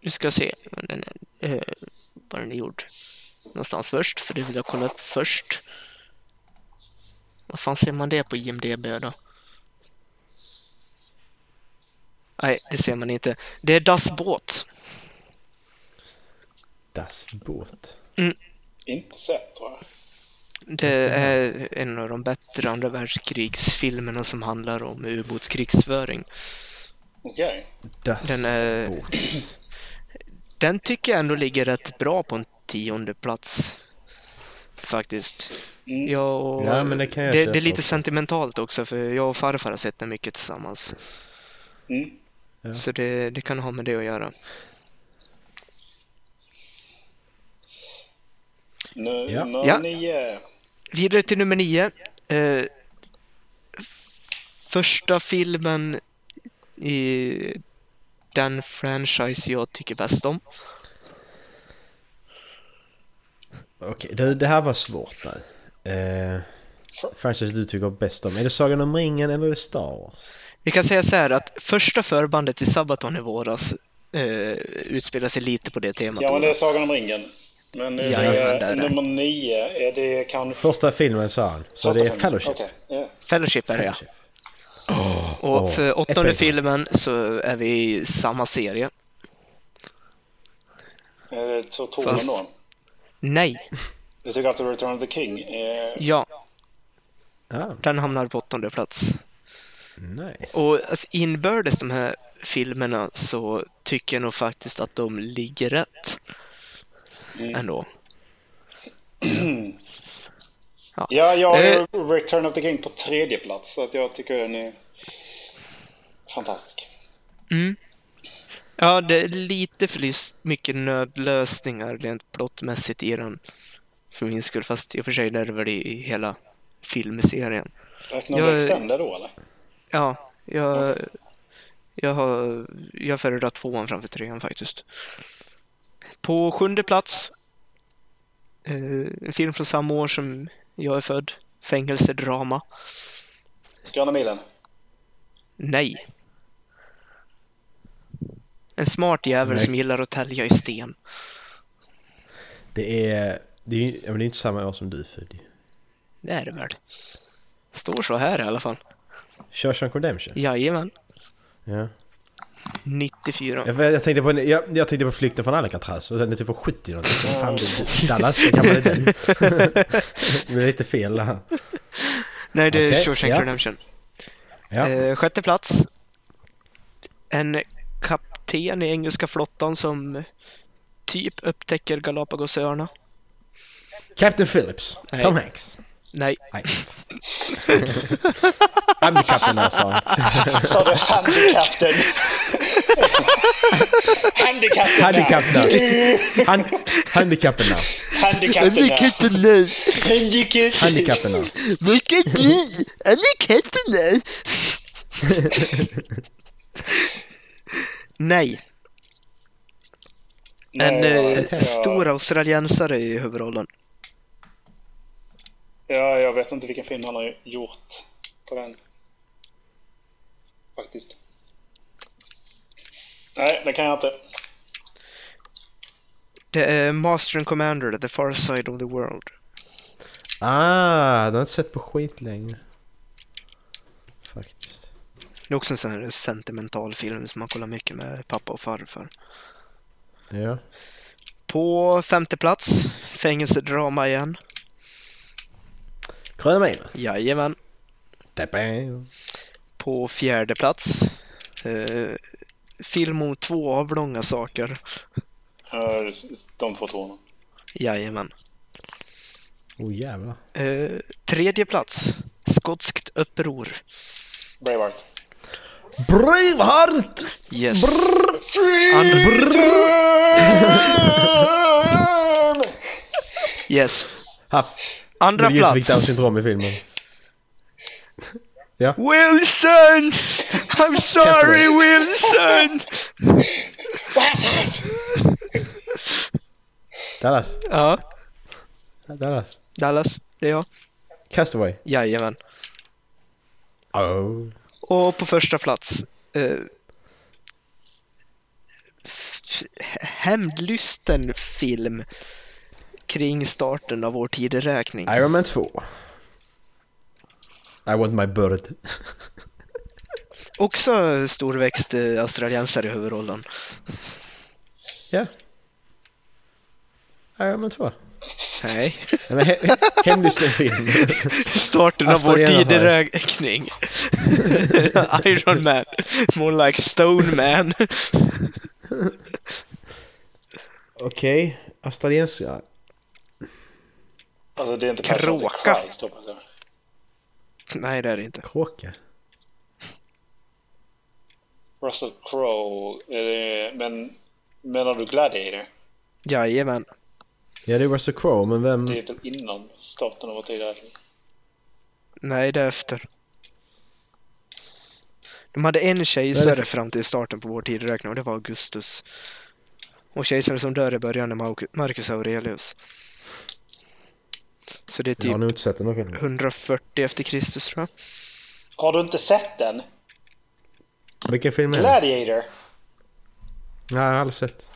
Speaker 12: Vi ska se vad den är, eh, vad den är gjord någonstans först, för det vill jag kolla upp först. Vad fan ser man det på IMDB då? Nej, det ser man inte. Det är Das Båt.
Speaker 10: Das Boot.
Speaker 11: Inte sett tror jag.
Speaker 12: Det är en av de bättre andra världskrigsfilmerna som handlar om ubåtskrigsföring.
Speaker 11: Okej.
Speaker 12: Den, är, den tycker jag ändå ligger rätt bra på en tionde plats. Faktiskt. Jag och,
Speaker 10: Ja, men det kan jag
Speaker 12: det,
Speaker 10: köpa
Speaker 12: är lite
Speaker 10: också.
Speaker 12: sentimentalt också för jag och farfar har sett den mycket tillsammans. Så det, det kan ha med det att göra.
Speaker 11: Nu, eh,
Speaker 12: Ja.
Speaker 11: Nummer
Speaker 12: Ja.
Speaker 11: nio.
Speaker 12: Vidare till nummer nio. Eh, f- första filmen i den franchise jag tycker bäst om.
Speaker 10: Okej, det, det här var svårt nu. Eh, franchise du tycker bäst om. Är det Sagan om ringen eller är det Star Wars?
Speaker 12: Vi kan säga så här att första förbandet till Sabaton i våras eh, utspelar sig lite på det temat.
Speaker 11: Ja, men det är Sagan om ringen. Men nu
Speaker 12: Jajamän,
Speaker 11: är
Speaker 12: det är det.
Speaker 11: nummer nio. Är det kanske...
Speaker 10: Första filmen sa han. Så det är Fellowship.
Speaker 11: Okej. ja.
Speaker 12: Fellowship är det ja. Och
Speaker 10: Åh,
Speaker 12: för åttonde
Speaker 10: epic.
Speaker 12: filmen så är vi i samma serie.
Speaker 11: Är det Tor- Toren
Speaker 12: Fast-
Speaker 11: då?
Speaker 12: Nej,
Speaker 11: Du tycker att Return of the King är...
Speaker 12: ja. Den hamnar på åttonde plats.
Speaker 10: Nice.
Speaker 12: Och alltså, inbördes de här filmerna så tycker jag nog faktiskt att de ligger rätt. Ändå. Ja,
Speaker 11: Ja, jag har
Speaker 12: Eh,
Speaker 11: ju Return of the King på tredje plats. Så att jag tycker den är fantastisk.
Speaker 12: Mm. Ja, det är lite för lys- mycket nödlösningar rent plottmässigt i den. För min skull, fast i och för sig det är det väl i i hela filmserien.
Speaker 11: Räknar
Speaker 12: Jag-
Speaker 11: du Extender då eller?
Speaker 12: Ja, jag, jag, har, jag föredrar tvåan framför trean faktiskt. På sjunde plats, eh, en film från samma år som jag är född, fängelsedrama.
Speaker 11: Gröna milen?
Speaker 12: Nej. En smart jävel
Speaker 10: Nej.
Speaker 12: som gillar att tälja i sten.
Speaker 10: Det är... Det är ju ja, men det är inte samma år som du född ju.
Speaker 12: Det är det väl. Står så här i alla fall.
Speaker 10: Shawshank Redemption?
Speaker 12: Jajamän.
Speaker 10: Ja.
Speaker 12: 94.
Speaker 10: Jag, jag, tänkte på, en- jag, jag tänkte på Flykten från Alcatraz och den är typ från 70 någonting. Fan, det- Dallas, hur gammal är du? det är lite fel där.
Speaker 12: Nej, det är
Speaker 10: Okej,
Speaker 12: Shawshank
Speaker 10: ja.
Speaker 12: Redemption.
Speaker 10: Ja.
Speaker 12: Eh, sjätte plats. En kapten i engelska flottan som typ upptäcker Galapagosöarna.
Speaker 10: Captain Phillips,
Speaker 12: Nej.
Speaker 10: Tom Hanks.
Speaker 12: Nej.
Speaker 10: Nej. I'm the captain now, sa han.
Speaker 11: Sa du handikappen? handikappen!
Speaker 10: Handikapp now. Han, handikappen now.
Speaker 11: Handikappen! Handikappen!
Speaker 12: nu!
Speaker 10: Handikappen now.
Speaker 12: Vilket ni! Är ni katterna? Nej. En
Speaker 11: Nej,
Speaker 12: eh,
Speaker 11: jag-
Speaker 12: stor australiensare i huvudrollen.
Speaker 11: Ja, jag vet inte vilken film han har gjort på den. Faktiskt. Nej, det kan jag inte.
Speaker 12: Det är Master and Commander, The Far Side of the World.
Speaker 10: Ah, den har jag inte sett på skit länge. Faktiskt.
Speaker 12: Det är också en sån här sentimental film som man kollar mycket med pappa och farfar.
Speaker 10: Ja.
Speaker 12: På femte plats, fängelsedrama igen.
Speaker 10: Gröna milen.
Speaker 12: Jajamän.
Speaker 10: Dabam.
Speaker 12: På fjärde plats, eh, film om två avlånga saker.
Speaker 11: Eh, Ja, De två tårna.
Speaker 12: Jajamän.
Speaker 10: Oh jävlar.
Speaker 12: Eh, tredje plats. Skotskt uppror.
Speaker 11: Braveheart.
Speaker 10: Braveheart!
Speaker 12: Yes.
Speaker 11: Andra-
Speaker 12: yes.
Speaker 10: Ha.
Speaker 12: Andra
Speaker 10: Mel Gibson fick Downs
Speaker 12: plats.
Speaker 10: syndrom i filmen.
Speaker 12: Wilson! I'm sorry Wilson!
Speaker 10: Dallas.
Speaker 12: Ja,
Speaker 10: Dallas.
Speaker 12: Dallas, det är jag.
Speaker 10: Castaway.
Speaker 12: Jajamän.
Speaker 10: Oh.
Speaker 12: Och på första plats. Eh, f- hämndlysten film kring starten av vår tideräkning.
Speaker 10: Iron Man 2. I want my bird.
Speaker 12: Också storväxt eh, australiensare i huvudrollen.
Speaker 10: Ja. Iron Man 2.
Speaker 12: Nej.
Speaker 10: Nej, men he- he- Hemlysten film.
Speaker 12: Starten av vår
Speaker 10: Australiensare.
Speaker 12: tideräkning. Iron Man. More like Stone Man.
Speaker 10: Okej, australienska.
Speaker 11: Alltså det är inte
Speaker 12: Kråka.
Speaker 11: Passion of the Christ, hoppas jag.
Speaker 12: Nej, det är det inte.
Speaker 10: Kråka.
Speaker 11: Russell Crowe. eh, Men menar du Gladiator?
Speaker 12: Jajamän.
Speaker 10: Ja, det är Russell Crowe, men vem...
Speaker 12: Typ.
Speaker 11: Det är typ väl innan starten av vår tideräkning?
Speaker 12: Nej, därefter. De hade en
Speaker 10: Vad är
Speaker 12: kejsare
Speaker 10: det
Speaker 12: fram till starten på vår tideräkning och det var Augustus. Och kejsaren som dör i början är Mau- Marcus Aurelius. Så det är
Speaker 10: Jag
Speaker 12: typ
Speaker 10: har nog inte sett den här filmen.
Speaker 12: 140 efter Kristus tror jag.
Speaker 11: Har du inte sett den?
Speaker 10: Vilken film är det?
Speaker 11: Gladiator!
Speaker 10: Nej, jag har aldrig sett.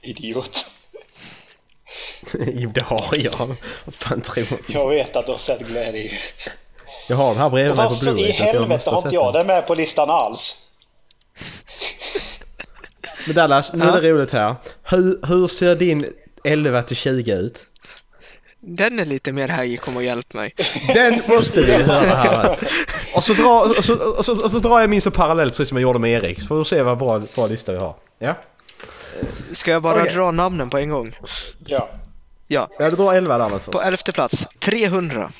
Speaker 11: Idiot.
Speaker 10: Jo, det har jag. Vad fan tror du?
Speaker 11: Jag vet att du har sett Gladiator.
Speaker 10: Jag har den här bredvid mig på
Speaker 11: Varför i
Speaker 10: Blu-ray. så att jag
Speaker 11: helvete
Speaker 10: måste ha
Speaker 11: har
Speaker 10: sett
Speaker 11: inte jag
Speaker 10: den.
Speaker 11: den med på listan alls?
Speaker 10: Men Dallas, nu är det roligt här. Hur, hur ser din 11 till 20 ut?
Speaker 12: Den är lite mer här, kom och hjälp mig.
Speaker 10: Den måste vi höra här. Och så, dra, och, så, och, så, och så drar jag min så parallell precis som jag gjorde med Erik. Så får du se vad bra, bra lista vi har. Ja.
Speaker 12: Ska jag bara
Speaker 10: Okej.
Speaker 12: dra namnen på en gång?
Speaker 11: Ja.
Speaker 12: Ja,
Speaker 10: Ja, du drar 11 där nu först.
Speaker 12: på elfte plats 300.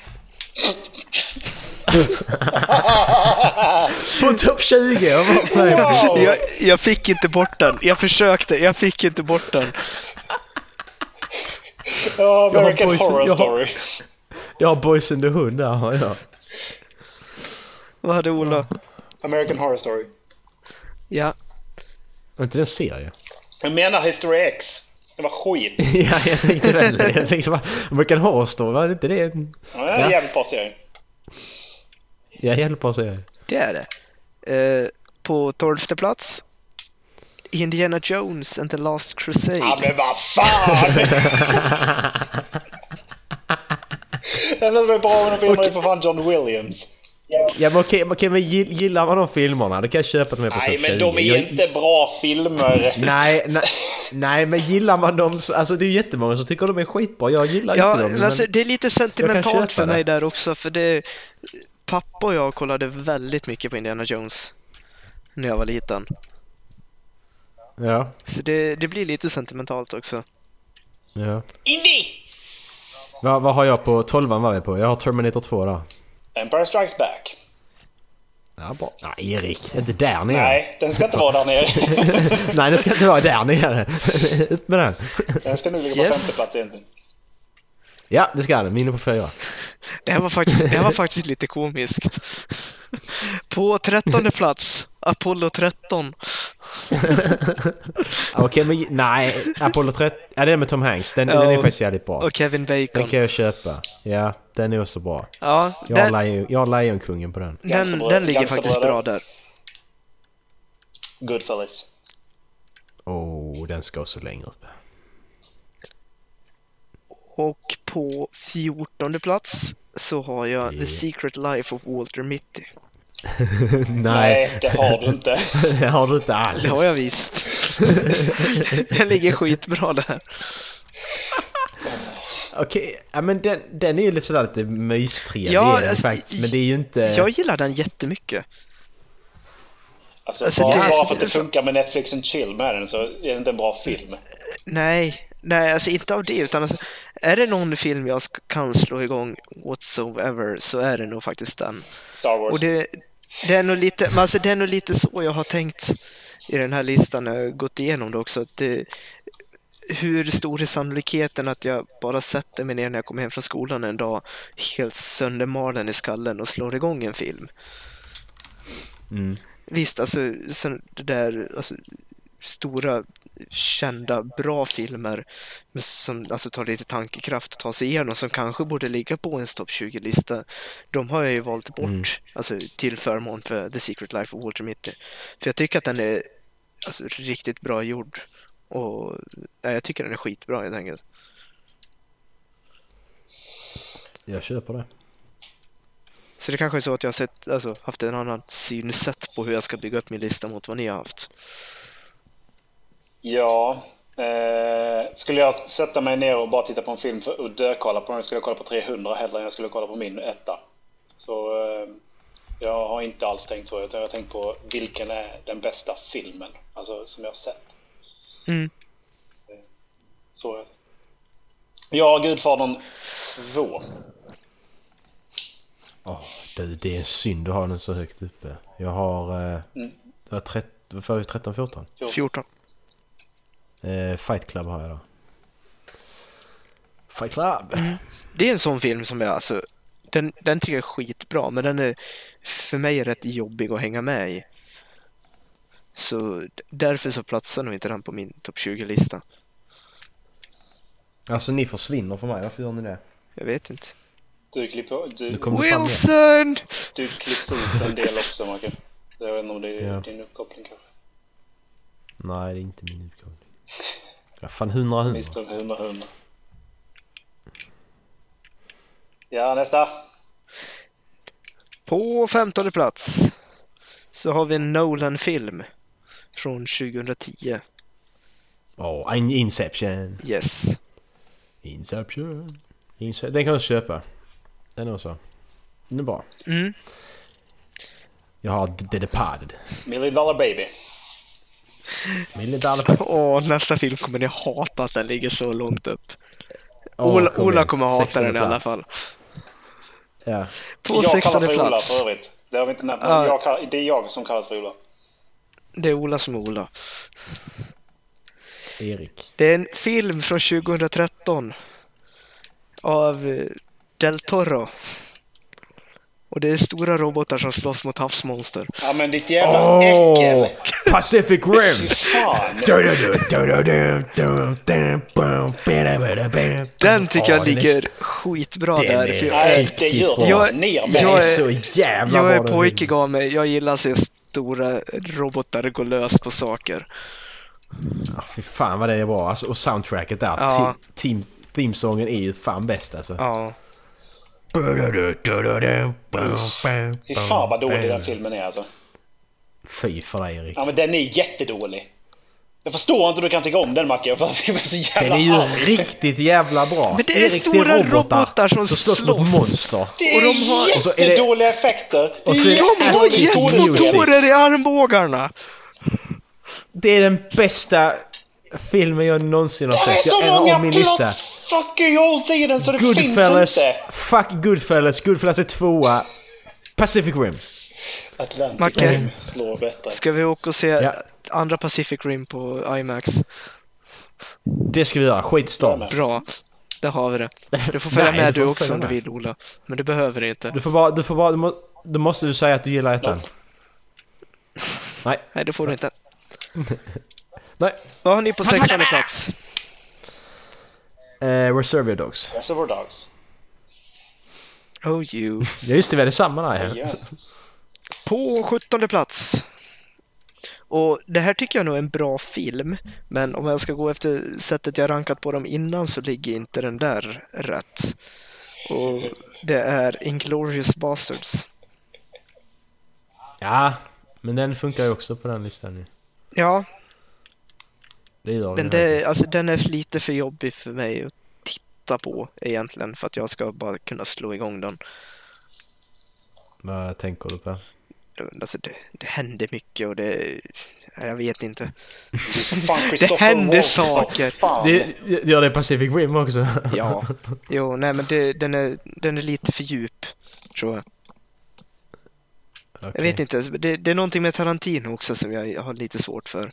Speaker 10: På topp 20! Jag bara säger det.
Speaker 12: Jag, jag fick inte bort den. Jag försökte, jag fick inte bort den.
Speaker 11: Ja,
Speaker 10: har
Speaker 11: American
Speaker 10: boys-
Speaker 11: Horror
Speaker 10: jag har-
Speaker 11: Story.
Speaker 10: Jag har Boys in the Hood där har jag.
Speaker 12: Vad hade Ola?
Speaker 11: American Horror Story.
Speaker 12: Ja,
Speaker 10: Var inte det en serie?
Speaker 11: Jag menar History X. Det var skit.
Speaker 10: ja, jag tänkte väl det. Jag tänkte bara, American Horror Story, var det inte det en...
Speaker 11: Ja, det är en jävligt bra serie.
Speaker 10: Jag hjälper oss serie?
Speaker 12: det är det. Eh, på tolfte plats Indiana Jones and the Last
Speaker 11: Ja,
Speaker 12: Crusade.
Speaker 11: men vad fan! Det enda som är bra med de filmerna är för fan John Williams.
Speaker 10: Ja men okej, okej men gill- gillar man de filmerna då kan jag köpa att de är på
Speaker 11: Nej,
Speaker 10: topp 20.
Speaker 11: men de är
Speaker 10: Jag-
Speaker 11: inte bra filmer.
Speaker 10: Nej, nej, nej men gillar man dem så, alltså det är ju jättemånga som tycker de är skitbra. Jag gillar
Speaker 12: Ja,
Speaker 10: inte dem.
Speaker 12: men alltså,
Speaker 10: men,
Speaker 12: det är lite
Speaker 10: köpa
Speaker 12: sentimentalt för mig
Speaker 10: det.
Speaker 12: där också för det... Pappa och jag kollade väldigt mycket på Indiana Jones när jag var liten.
Speaker 10: ja,
Speaker 12: Så det, det blir lite sentimentalt också.
Speaker 10: ja.
Speaker 11: Indy!
Speaker 10: Vad, vad har jag på 12 var vi på? Jag har Terminator 2 där.
Speaker 11: Empire Strikes Back.
Speaker 10: Ja, bra. Nej Erik, inte där nere.
Speaker 11: Nej, den ska inte vara där nere.
Speaker 10: nej det ska inte vara där nere. Ut med den.
Speaker 11: Den ska nu ligga på
Speaker 12: Yes.
Speaker 11: femte plats egentligen.
Speaker 10: Ja, det ska den. Minne på fyra.
Speaker 12: Det här var faktiskt, det här var faktiskt lite komiskt. På trettonde plats, Apollo 13.
Speaker 10: Okej men nej, Apollo 13. Ja det är med Tom Hanks. Den,
Speaker 12: Ja,
Speaker 10: den är faktiskt jävligt bra.
Speaker 12: Och Kevin
Speaker 10: Den
Speaker 12: Bacon.
Speaker 10: kan jag köpa. Ja, den är också bra.
Speaker 12: Ja,
Speaker 10: Jag har,
Speaker 12: den,
Speaker 10: Lion, jag har Lejonkungen på den.
Speaker 12: den, den ligger faktiskt bra där.
Speaker 11: Goodfellas.
Speaker 10: Oh, den ska också längre upp.
Speaker 12: Och på fjortonde plats så har jag The Secret Life of Walter Mitty.
Speaker 10: Nej,
Speaker 11: Nej, det har du inte.
Speaker 10: det har du inte alls.
Speaker 12: Det har jag visst. den ligger skitbra där.
Speaker 10: Okej, ja, men den, den är ju lite sådär lite mystrevlig
Speaker 12: Ja,
Speaker 10: är den
Speaker 12: alltså,
Speaker 10: faktiskt. Men det är ju inte...
Speaker 12: Jag gillar den jättemycket.
Speaker 11: Alltså,
Speaker 12: Alltså,
Speaker 11: bara,
Speaker 12: det-
Speaker 11: bara för att det funkar med Netflix and chill med den så är det inte en bra film.
Speaker 12: Nej, nej alltså inte av det utan alltså, är det någon film jag sk- kan slå igång whatsoever så är det nog faktiskt den.
Speaker 11: Star Wars.
Speaker 12: Och det, det, är nog lite, men alltså det är nog lite så jag har tänkt i den här listan när jag gått igenom det också. Att det, hur stor är sannolikheten att jag bara sätter mig ner när jag kommer hem från skolan en dag helt söndermalen i skallen och slår igång en film?
Speaker 10: Mm.
Speaker 12: Visst, alltså sen det där alltså, stora kända bra filmer men som alltså, tar lite tankekraft att ta sig igenom som kanske borde ligga på en topp 20-lista. De har jag ju valt bort
Speaker 10: Mm.
Speaker 12: alltså, till förmån för The Secret Life of Walter Mitty. För jag tycker att den är alltså, riktigt bra gjord. Och, nej, jag tycker den är skitbra helt enkelt.
Speaker 10: Jag köper det.
Speaker 12: Så det kanske är så att jag har sett, alltså, haft en annan synsätt på hur jag ska bygga upp min lista mot vad ni har haft.
Speaker 11: Ja. Eh, skulle jag sätta mig ner och bara titta på en film för och dökolla på den skulle jag kolla på 300 hellre än jag skulle kolla på min etta. Så eh, jag har inte alls tänkt så utan jag har tänkt på vilken är den bästa filmen alltså, som jag har sett.
Speaker 12: Mm.
Speaker 11: Så är det. Ja, Gudfadern 2.
Speaker 10: Åh, det, det är en synd att ha den så högt uppe. Jag har... Eh,
Speaker 11: Mm.
Speaker 10: jag har trett, vad får jag, 13, 14?
Speaker 12: 14.
Speaker 10: Eh, Fight Club har jag då. Fight Club!
Speaker 12: Mm. Det är en sån film som jag alltså, den, den tycker jag är skitbra men den är för mig rätt jobbig att hänga med i. Så d- därför så platsar nog inte den på min topp 20-lista.
Speaker 10: Alltså ni försvinner för mig, varför gör ni det?
Speaker 12: Jag vet inte.
Speaker 11: Du klipper... Du,
Speaker 10: Nu kommer det fram igen.
Speaker 12: Wilson!
Speaker 11: du klipps ut en del också, Marcus. Jag vet inte om det är
Speaker 10: Ja.
Speaker 11: din uppkoppling kanske.
Speaker 10: Nej, det är inte min utgång. Ja, fan 100 100.
Speaker 11: Mr. 100 100. Ja, nästa.
Speaker 12: På femtonde plats så har vi en Nolan-film från 2010.
Speaker 10: Åh, in- Inception!
Speaker 12: Yes.
Speaker 10: Inception! Ince- Den kan jag köpa. Den är så. Den är bra.
Speaker 12: Mm.
Speaker 10: Jag har The- The Departed.
Speaker 11: Million Dollar Baby.
Speaker 10: Mille Dalpa.
Speaker 12: Åh, nästa film kommer ni hata att den ligger så långt upp.
Speaker 10: Åh,
Speaker 12: Ola,
Speaker 10: kom
Speaker 12: Ola
Speaker 10: igen.
Speaker 12: kommer hata
Speaker 10: Sextonde
Speaker 12: den i alla
Speaker 10: plats.
Speaker 12: fall.
Speaker 10: Ja.
Speaker 12: På
Speaker 11: jag kallas
Speaker 12: sextonde
Speaker 11: för Ola
Speaker 12: plats.
Speaker 11: för övrigt. Det har vi inte nämnt. men
Speaker 12: Ja.
Speaker 11: Jag kall- det är jag som kallas för Ola.
Speaker 12: Det är Ola som är Ola.
Speaker 10: Erik.
Speaker 12: Det är en film från 2013 av eh, Del Toro. Och det är stora robotar som slåss mot havsmonster.
Speaker 11: Ja, men ditt jävla äckel!
Speaker 10: Pacific Rim!
Speaker 11: Fy fan!
Speaker 12: Den tycker
Speaker 10: Ja, den är-
Speaker 12: jag ligger skitbra
Speaker 10: den
Speaker 12: där.
Speaker 10: är
Speaker 12: För jag,
Speaker 11: Nej, det gör
Speaker 10: Bra.
Speaker 11: jag,
Speaker 12: Jag-
Speaker 11: ner med.
Speaker 10: Den är
Speaker 12: jag
Speaker 10: så jävla
Speaker 12: jag
Speaker 10: bra
Speaker 12: är
Speaker 10: den
Speaker 12: pojkig av mig. Jag gillar att se stora robotar gå lös på saker.
Speaker 10: Ja, fy fan vad det är bra. Alltså, och soundtracket där.
Speaker 12: Ja.
Speaker 10: Ti- Team, themesången är ju fan bäst alltså.
Speaker 12: Ja.
Speaker 11: Fy fan vad dålig den filmen är alltså.
Speaker 10: Fy för dig Erik.
Speaker 11: Ja men den är jättedålig. Jag förstår inte hur du kan tycka om den Macke. Jag blir så jävla
Speaker 10: Den är ju
Speaker 11: arg.
Speaker 10: riktigt jävla bra.
Speaker 12: Men det är stora robotar som
Speaker 10: mot
Speaker 12: slåss.
Speaker 10: monster.
Speaker 11: Det är
Speaker 12: Och de har-
Speaker 10: och så är det-
Speaker 11: jättedåliga effekter.
Speaker 10: och så är Alltså, det
Speaker 12: De har
Speaker 10: Aston Music.
Speaker 12: jetmotorer i armbågarna!
Speaker 10: Det är den bästa filmen jag någonsin har
Speaker 11: Det är
Speaker 10: sett.
Speaker 11: så
Speaker 10: Jag är
Speaker 11: många
Speaker 10: av min lista.
Speaker 11: plot fucking all tiden så det finns
Speaker 10: Goodfellas.
Speaker 11: inte.
Speaker 10: Fuck Goodfellas. Goodfellas är tvåa. Pacific Rim.
Speaker 11: Atlantic
Speaker 12: Macke.
Speaker 10: Mm.
Speaker 11: Rim slår bättre.
Speaker 12: Ska vi åka och se
Speaker 10: Ja.
Speaker 12: andra Pacific Rim på IMAX?
Speaker 10: Det ska vi göra. Skit i Star Wars.
Speaker 12: Bra. Där har vi det. Du får följa
Speaker 10: Nej,
Speaker 12: med
Speaker 10: du
Speaker 12: du,
Speaker 10: får
Speaker 12: också
Speaker 10: följa
Speaker 12: om du
Speaker 10: med.
Speaker 12: vill Ola. Men du behöver det inte.
Speaker 10: Du får bara... Du får bara... Du må, då måste du säga att du gillar ettan. Nej.
Speaker 12: Nej, det får du inte.
Speaker 10: Nej.
Speaker 12: Vad har ni på sextonde plats?
Speaker 10: Eh, Reservoir Dogs.
Speaker 11: Reservoir Dogs.
Speaker 12: Oh you.
Speaker 10: Ja just det, vi hade samma där ju.
Speaker 11: Ja.
Speaker 12: På sjuttonde plats. Och det här tycker jag nog är en bra film. Men om jag ska gå efter sättet jag rankat på dem innan så ligger inte den där rätt. Och det är Inglourious Basterds.
Speaker 10: Ja, men den funkar ju också på den listan ju.
Speaker 12: Ja,
Speaker 10: Det gör den
Speaker 12: Men
Speaker 10: ju
Speaker 12: det,
Speaker 10: verkligen.
Speaker 12: alltså, den är lite för jobbig för mig att titta på egentligen för att jag ska bara kunna slå igång den.
Speaker 10: Vad tänker du på?
Speaker 12: Alltså, det, det händer mycket och det... Jag vet inte.
Speaker 11: Fan,
Speaker 12: det
Speaker 11: Christopher
Speaker 12: händer
Speaker 11: Waltz,
Speaker 12: saker.
Speaker 11: vad fan.
Speaker 10: Det, ja, det är Pacific Rim också.
Speaker 12: Ja. Jo, nej men det, den, är, den är lite för djup, tror jag. Jag vet inte, alltså, det, det är någonting med Tarantino också som jag har lite svårt för.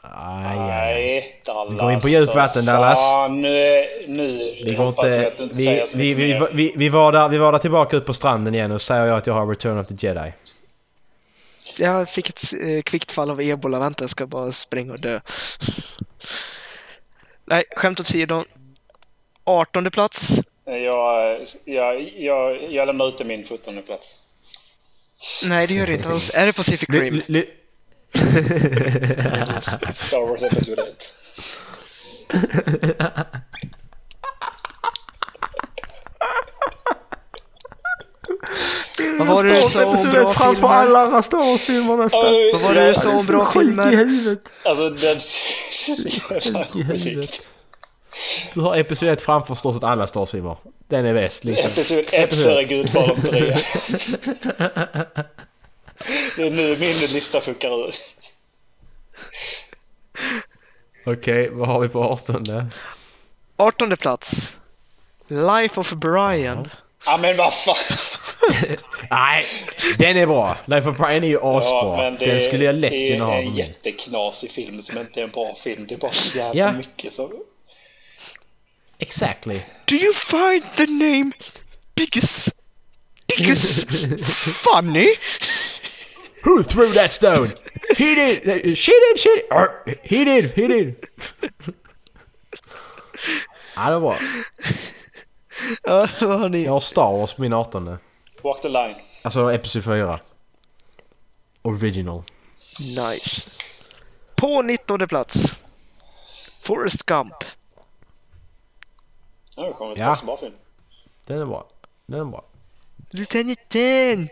Speaker 10: Aj, aj.
Speaker 11: Nej, Dallas.
Speaker 10: Vi går in på djupt vatten,
Speaker 11: för
Speaker 10: Dallas.
Speaker 11: Fan, nu, nu
Speaker 10: Vi, går
Speaker 11: hoppas jag
Speaker 10: inte,
Speaker 11: att du inte
Speaker 10: vi,
Speaker 11: säger så
Speaker 10: vi,
Speaker 11: mycket
Speaker 10: vi,
Speaker 11: mer.
Speaker 10: vi, vi, var där, vi var där tillbaka ut på stranden igen och säger jag att jag har Return of the Jedi.
Speaker 12: Jag fick ett eh, kvickt fall av ebola, vänta jag ska bara springa och dö. Nej, skämt åsido. 18 plats.
Speaker 11: Jag, jag, jag, jag lämnar ute min 17 plats.
Speaker 12: Nej, det gör det inte alls. Är det Pacific
Speaker 10: Ly-
Speaker 12: Rim?
Speaker 10: ly- ly-
Speaker 11: Star Wars Episod 1.
Speaker 12: Vad var det du sa om bra
Speaker 10: framför
Speaker 12: filmer?
Speaker 10: alla andra Star Wars-filmer nästan.
Speaker 12: Vad var det du sa om bra filmer?
Speaker 10: huvudet.
Speaker 11: Alltså, den... så jävla
Speaker 10: I
Speaker 11: sjukt.
Speaker 10: huvudet. Du har Episod 1 framför stort sett alla Star Wars-filmer. Den är bäst liksom.
Speaker 11: Episod 1 före Gudfadern 3. Det är nu min lista fuckar ur.
Speaker 10: Okej, vad har vi på 18 där?
Speaker 12: 18 plats. Life of Brian.
Speaker 11: Ja men vad fan.
Speaker 10: Nej, den är bra. Life of Brian är ju asbra. den skulle jag lätt kunna ha.
Speaker 11: Det är
Speaker 10: på
Speaker 11: en
Speaker 10: min.
Speaker 11: jätteknasig film som inte är en bra film. Det är bara så jävla
Speaker 10: Ja.
Speaker 11: mycket som...
Speaker 10: Exactly.
Speaker 12: Do you find the name Biggus? Biggus? Funny?
Speaker 10: Who threw that stone? He did! She did! She did! Or, he did! He did! Ja, det var
Speaker 12: Ja, vad har ni?
Speaker 10: Jag har Star Wars på min 18
Speaker 11: Walk the line.
Speaker 10: Alltså Episod 4. Original.
Speaker 12: Nice. På 19 plats. Forrest Gump.
Speaker 11: Nu har vi kommit
Speaker 10: Ja.
Speaker 11: på en bra film.
Speaker 10: Den är bra. Den är bra.
Speaker 12: Lieutenant Dan!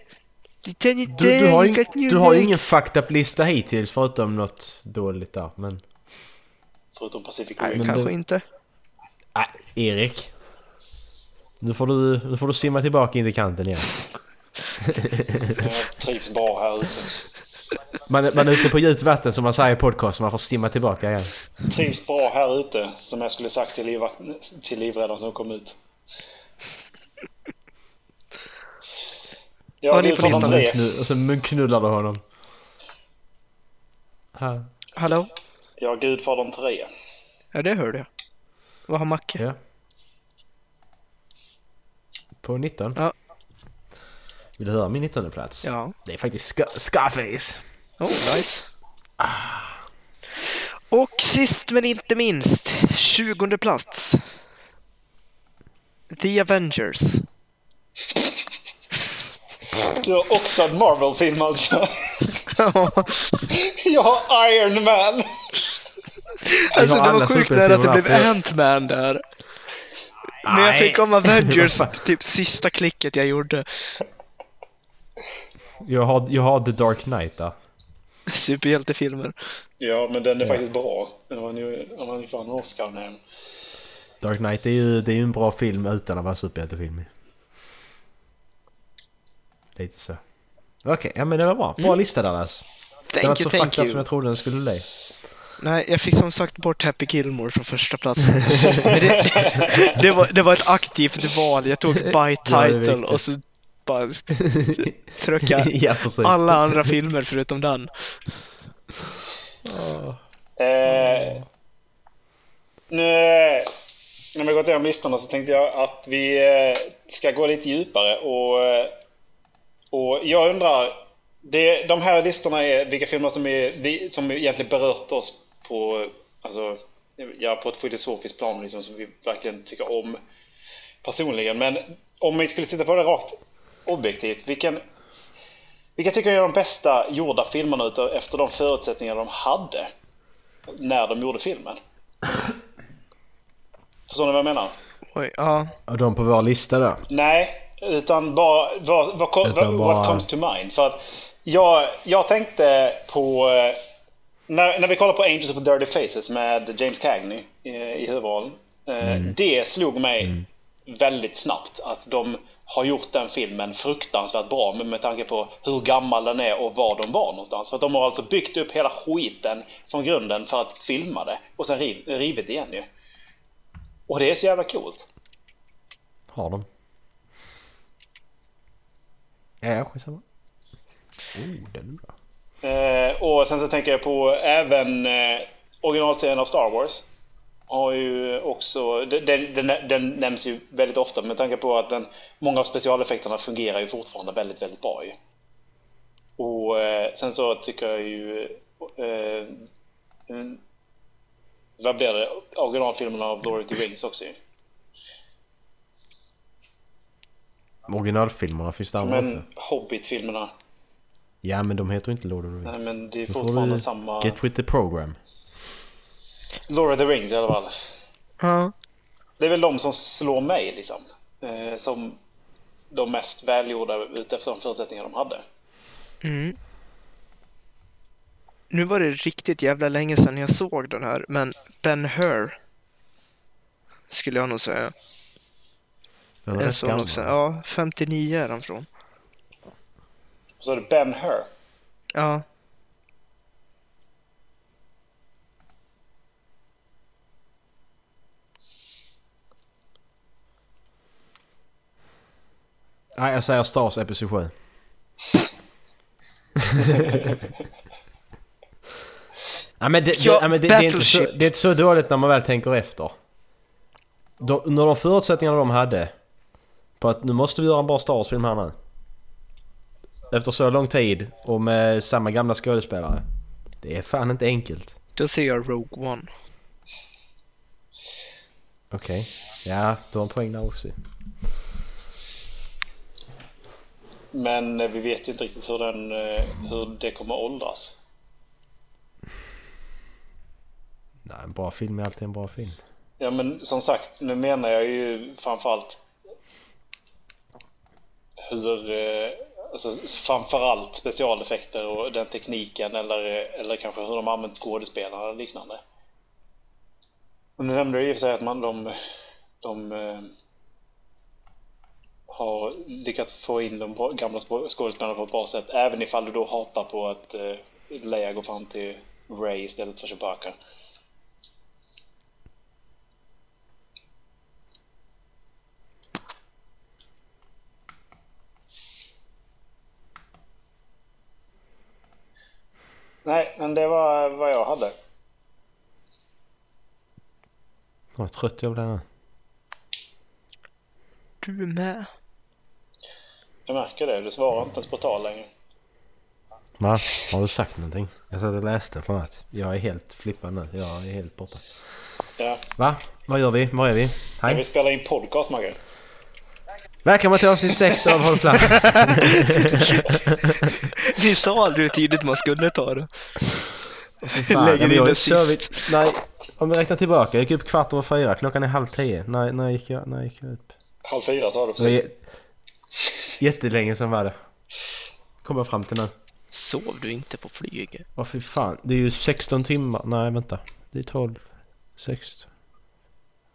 Speaker 12: Lieutenant
Speaker 10: Du, du, har,
Speaker 12: Dan,
Speaker 10: ju,
Speaker 12: you got new
Speaker 10: du har ju
Speaker 12: legs.
Speaker 10: ingen fucked up-lista hittills förutom något dåligt där. Men...
Speaker 11: Förutom Pacific
Speaker 12: Nej,
Speaker 11: Rim.
Speaker 10: men
Speaker 12: kanske
Speaker 10: du-
Speaker 12: inte.
Speaker 10: Nej, Erik. Nu får, du, nu får du simma tillbaka in till kanten igen.
Speaker 11: Jag trivs bra här ute.
Speaker 10: Man, man är ute på djupt vatten som man säger i podcast, så man får simma tillbaka igen.
Speaker 11: Trivs bra här ute, som jag skulle sagt till, livvak- till livräddaren som kom ut. Ja,
Speaker 12: Vad är
Speaker 11: nu
Speaker 12: ni på
Speaker 11: tar de
Speaker 12: listan?
Speaker 11: tre.
Speaker 10: Knu- Och så munknullar du honom. Här.
Speaker 12: Hallå?
Speaker 11: Ja, Gudfadern 3.
Speaker 12: Ja, det hörde jag. Vad har Macke?
Speaker 10: Ja. På 19.
Speaker 12: Ja.
Speaker 10: Vill du höra min 19 plats?
Speaker 12: Ja.
Speaker 10: Det är faktiskt Scar- Scarface.
Speaker 12: Oh, nice. Och sist men inte minst, 20 plats. The Avengers.
Speaker 11: Du har också en Marvel-film alltså. Jag har Iron Man.
Speaker 12: Alltså
Speaker 10: har
Speaker 12: det
Speaker 10: alla
Speaker 12: var sjukt
Speaker 10: superfilmer
Speaker 12: nära att det blev
Speaker 10: för-
Speaker 12: Ant-Man där. Men jag
Speaker 10: Nej.
Speaker 12: fick om Avengers
Speaker 10: Vad fan.
Speaker 12: typ sista klicket jag gjorde.
Speaker 10: Jag har, jag har The Dark Knight där.
Speaker 12: Superhjältefilmer.
Speaker 11: Ja, men den är faktiskt bra. Den har ni, den har ni fan Oscar med.
Speaker 10: Dark Knight är ju, det är ju en bra film utan att vara superhjältefilm. Lite så. Okej, ja men det var bra. Bra lista Dallas. Den var
Speaker 12: Mm. Thank
Speaker 10: så
Speaker 12: you,
Speaker 10: fucked
Speaker 12: thank
Speaker 10: up som
Speaker 12: you.
Speaker 10: jag trodde den skulle bli.
Speaker 12: Nej, jag fick som sagt bort Happy Gilmore från första platsen. Men det, det, var, det var ett aktivt val. Jag tog by
Speaker 10: är
Speaker 12: title
Speaker 10: viktigt.
Speaker 12: och så bara tryckade
Speaker 10: ja, precis.
Speaker 12: alla andra filmer förutom den.
Speaker 11: Eh, nu, när vi gått igenom listorna så tänkte jag att vi eh, ska gå lite djupare och, eh, och jag undrar, det, de här listorna är vilka filmer som, är, vi, som egentligen berört oss på, alltså, ja, på ett filosofiskt plan liksom, som vi verkligen tycker om personligen. Men om vi skulle titta på det rakt objektivt, vilken, vilka tycker jag är de bästa gjorda filmerna utav, efter de förutsättningar de hade? när de gjorde filmen. Förstår ni vad jag menar?
Speaker 12: Oj, ja.
Speaker 10: Och de på vår lista då.
Speaker 11: Nej, utan bara vad, vad, kom-
Speaker 10: Utan
Speaker 11: vad,
Speaker 10: bara-
Speaker 11: what comes to mind. För att jag, jag tänkte på... eh, När, när vi kollar på Angels of Dirty Faces med James Cagney
Speaker 10: Mm.
Speaker 11: eh, i huvudrollen. eh, Det slog mig väldigt snabbt att de har gjort den filmen fruktansvärt bra men med tanke på hur gammal den är och var de var någonstans. För att de har alltså byggt upp hela skiten från grunden för att filma det och sen riv, rivit igen ju. Och det är så jävla coolt.
Speaker 10: Har de? Ja, skitsamma. Oh, den är bra.
Speaker 11: Eh, och sen så tänker jag på även eh, originalserien av Star Wars. Har ju också, den, den, den- den nämns ju väldigt ofta med tanke på att den, många av specialeffekterna fungerar ju fortfarande väldigt, väldigt bra ju. Och eh, sen så tycker jag ju... Eh, mm, vad blir det? Originalfilmerna av Lord of the Rings också ju.
Speaker 10: Originalfilmerna finns det andra också.
Speaker 11: Men Hobbit-filmerna,
Speaker 10: Ja men de heter inte Lord of the Rings.
Speaker 11: nej men det är
Speaker 10: Då får
Speaker 11: fortfarande
Speaker 10: du
Speaker 11: samma...
Speaker 10: Get with the program.
Speaker 11: Lord of the Rings i alla fall. Det är väl de som slår mig liksom. Eh, som de mest välgjorda utefter de förutsättningar de hade.
Speaker 13: Mm. Nu var det riktigt jävla länge sedan jag såg den här, men Ben Hur skulle jag nog säga.
Speaker 10: Den är
Speaker 13: en
Speaker 10: rätt
Speaker 13: sån
Speaker 10: gammal.
Speaker 13: också. Ja, 59 är han från.
Speaker 11: Och så är det Ben Hur.
Speaker 13: Ja.
Speaker 10: Nej jag säger Stars Episod 7. Nej men, det,
Speaker 13: Ja,
Speaker 10: det, nej, men det, det, är inte så,
Speaker 13: Battleship.
Speaker 10: det är inte så dåligt när man väl tänker efter. De, under de förutsättningarna de hade på att nu måste vi göra en bra Star Wars-film här nu. Efter så lång tid och med samma gamla skådespelare. Det är fan inte enkelt.
Speaker 13: Då ser jag Rogue One.
Speaker 10: Okej. Ja, du har en poäng där också.
Speaker 11: Men eh, vi vet ju inte riktigt hur, den, eh, hur det kommer att åldras.
Speaker 10: Nej, en bra film är alltid en bra film.
Speaker 11: Ja men som sagt, nu menar jag ju framförallt hur, eh, alltså framförallt specialeffekter och den tekniken eller, eh, eller kanske hur de använt skådespelare och liknande. Och nu nämnde du i och för sig att man, de, de eh, har lyckats få in de bra- gamla spå- skådespelarna på ett bra sätt även ifall du då hatar på att eh, Leia går fram till Ray istället för Chewbacca. Nej, men det var vad jag hade.
Speaker 10: Vad trött jag blev nu.
Speaker 13: Du med.
Speaker 11: Jag märker det, du svarar inte ens på tal längre.
Speaker 10: Va? Har du sagt någonting? Jag satt och läste på något. Jag är helt flippad nu. Jag är helt borta.
Speaker 11: Ja.
Speaker 10: Va? Vad gör vi? Var är vi?
Speaker 11: Jag vill
Speaker 10: Hej.
Speaker 11: spela in podcast Magge.
Speaker 10: Välkomna till avsnitt 6 av Håll Flagg.
Speaker 13: Vi sa aldrig hur tidigt man skulle ta det.
Speaker 10: Fan, ja, men
Speaker 13: Lägger in
Speaker 10: jag
Speaker 13: det
Speaker 10: kör vi-
Speaker 13: sist.
Speaker 10: Nej, om vi räknar tillbaka. Jag gick upp kvart över fyra. Klockan är halv tio. När, när, gick, jag, när gick jag upp?
Speaker 11: Halv fyra sa du
Speaker 10: Det var
Speaker 11: precis.
Speaker 10: j- jättelänge sedan var det. Kommer jag fram till nu.
Speaker 13: Sov du inte på flyget?
Speaker 10: Åh fy fan, det är ju 16 timmar. Nej vänta. Det är 12, 16,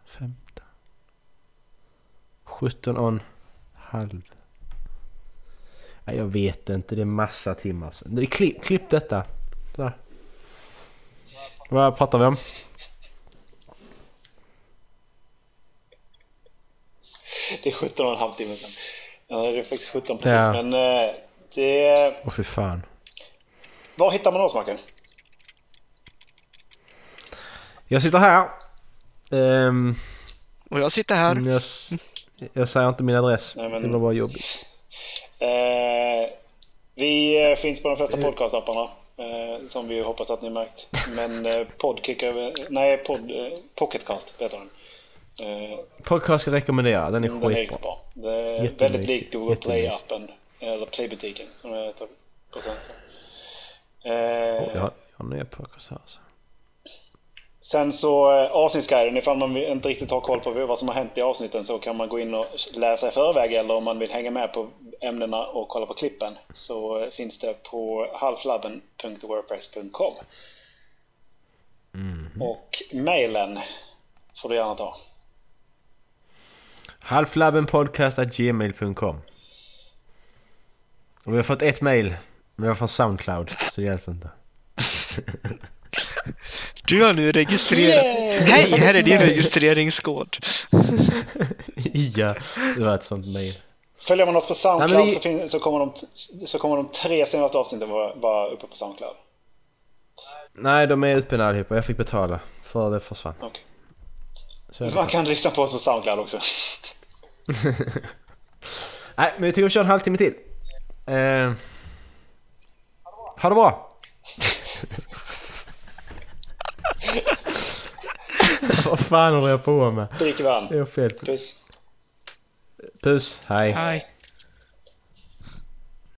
Speaker 10: 15, 17 och en halv. Nej jag vet inte, det är massa timmar. sedan. Det är klipp, klipp detta. Så här. Vad pratar vi om?
Speaker 11: Det är 17 och en halv timme sedan. Ja, det är faktiskt 17 precis.
Speaker 10: Ja.
Speaker 11: Men eh, det...
Speaker 10: Åh fy fan.
Speaker 11: Var hittar man oss Magge?
Speaker 10: Jag sitter här. Ehm,
Speaker 13: och jag sitter här.
Speaker 10: Jag, s- jag säger inte min adress.
Speaker 11: Nej, men-
Speaker 10: Det blir bara jobbigt.
Speaker 11: Eh, vi eh, finns på de flesta podcastapparna. Eh, som vi hoppas att ni märkt. Men eh, Podkick... över- Nej, pod, eh, Pocketcast heter den. Eh,
Speaker 10: Podcast ska jag rekommendera, den är
Speaker 11: Den är
Speaker 10: skitbra.
Speaker 11: riktigt bra. Det är
Speaker 10: Jättemysig,
Speaker 11: väldigt lik Google
Speaker 10: jättemysig.
Speaker 11: Play-appen. Eller Playbutiken som den heter på svenska. Eh,
Speaker 10: Jag har, jag har nya podcast här. Så.
Speaker 11: Sen så eh, avsnittsguiden, ifall man vill- inte riktigt har koll på vad som har hänt i avsnitten så kan man gå in och läsa i förväg eller om man vill hänga med på ämnena och kolla på klippen så eh, finns det på halflabben.wordpress.com.
Speaker 10: Mhm.
Speaker 11: Och mejlen får du gärna ta.
Speaker 10: Halflabbenpodcast.gmail.com Och vi har fått ett mail, men det var från Soundcloud, så det gälls inte.
Speaker 12: Du har nu registrerat.
Speaker 10: Yay!
Speaker 12: Hej, här är din registreringskod.
Speaker 10: ja, det var ett sånt mail.
Speaker 11: Följer man oss på Soundcloud
Speaker 10: Nej, men vi-
Speaker 11: så, fin- så, kommer de t- så kommer de tre senaste avsnitten vara, vara uppe på Soundcloud.
Speaker 10: Nej, de är utbildade allihopa. Jag fick betala för det försvann.
Speaker 11: Okej.
Speaker 10: Så jag
Speaker 11: Man kan lyssna på oss på Soundcloud också.
Speaker 10: Nej, men vi tycker vi kör en halvtimme till. Eh, ha det bra! Vad fan håller jag på med?
Speaker 11: Drick vatten.
Speaker 10: Det är fel.
Speaker 11: Puss.
Speaker 10: Puss, hej.
Speaker 12: Hej.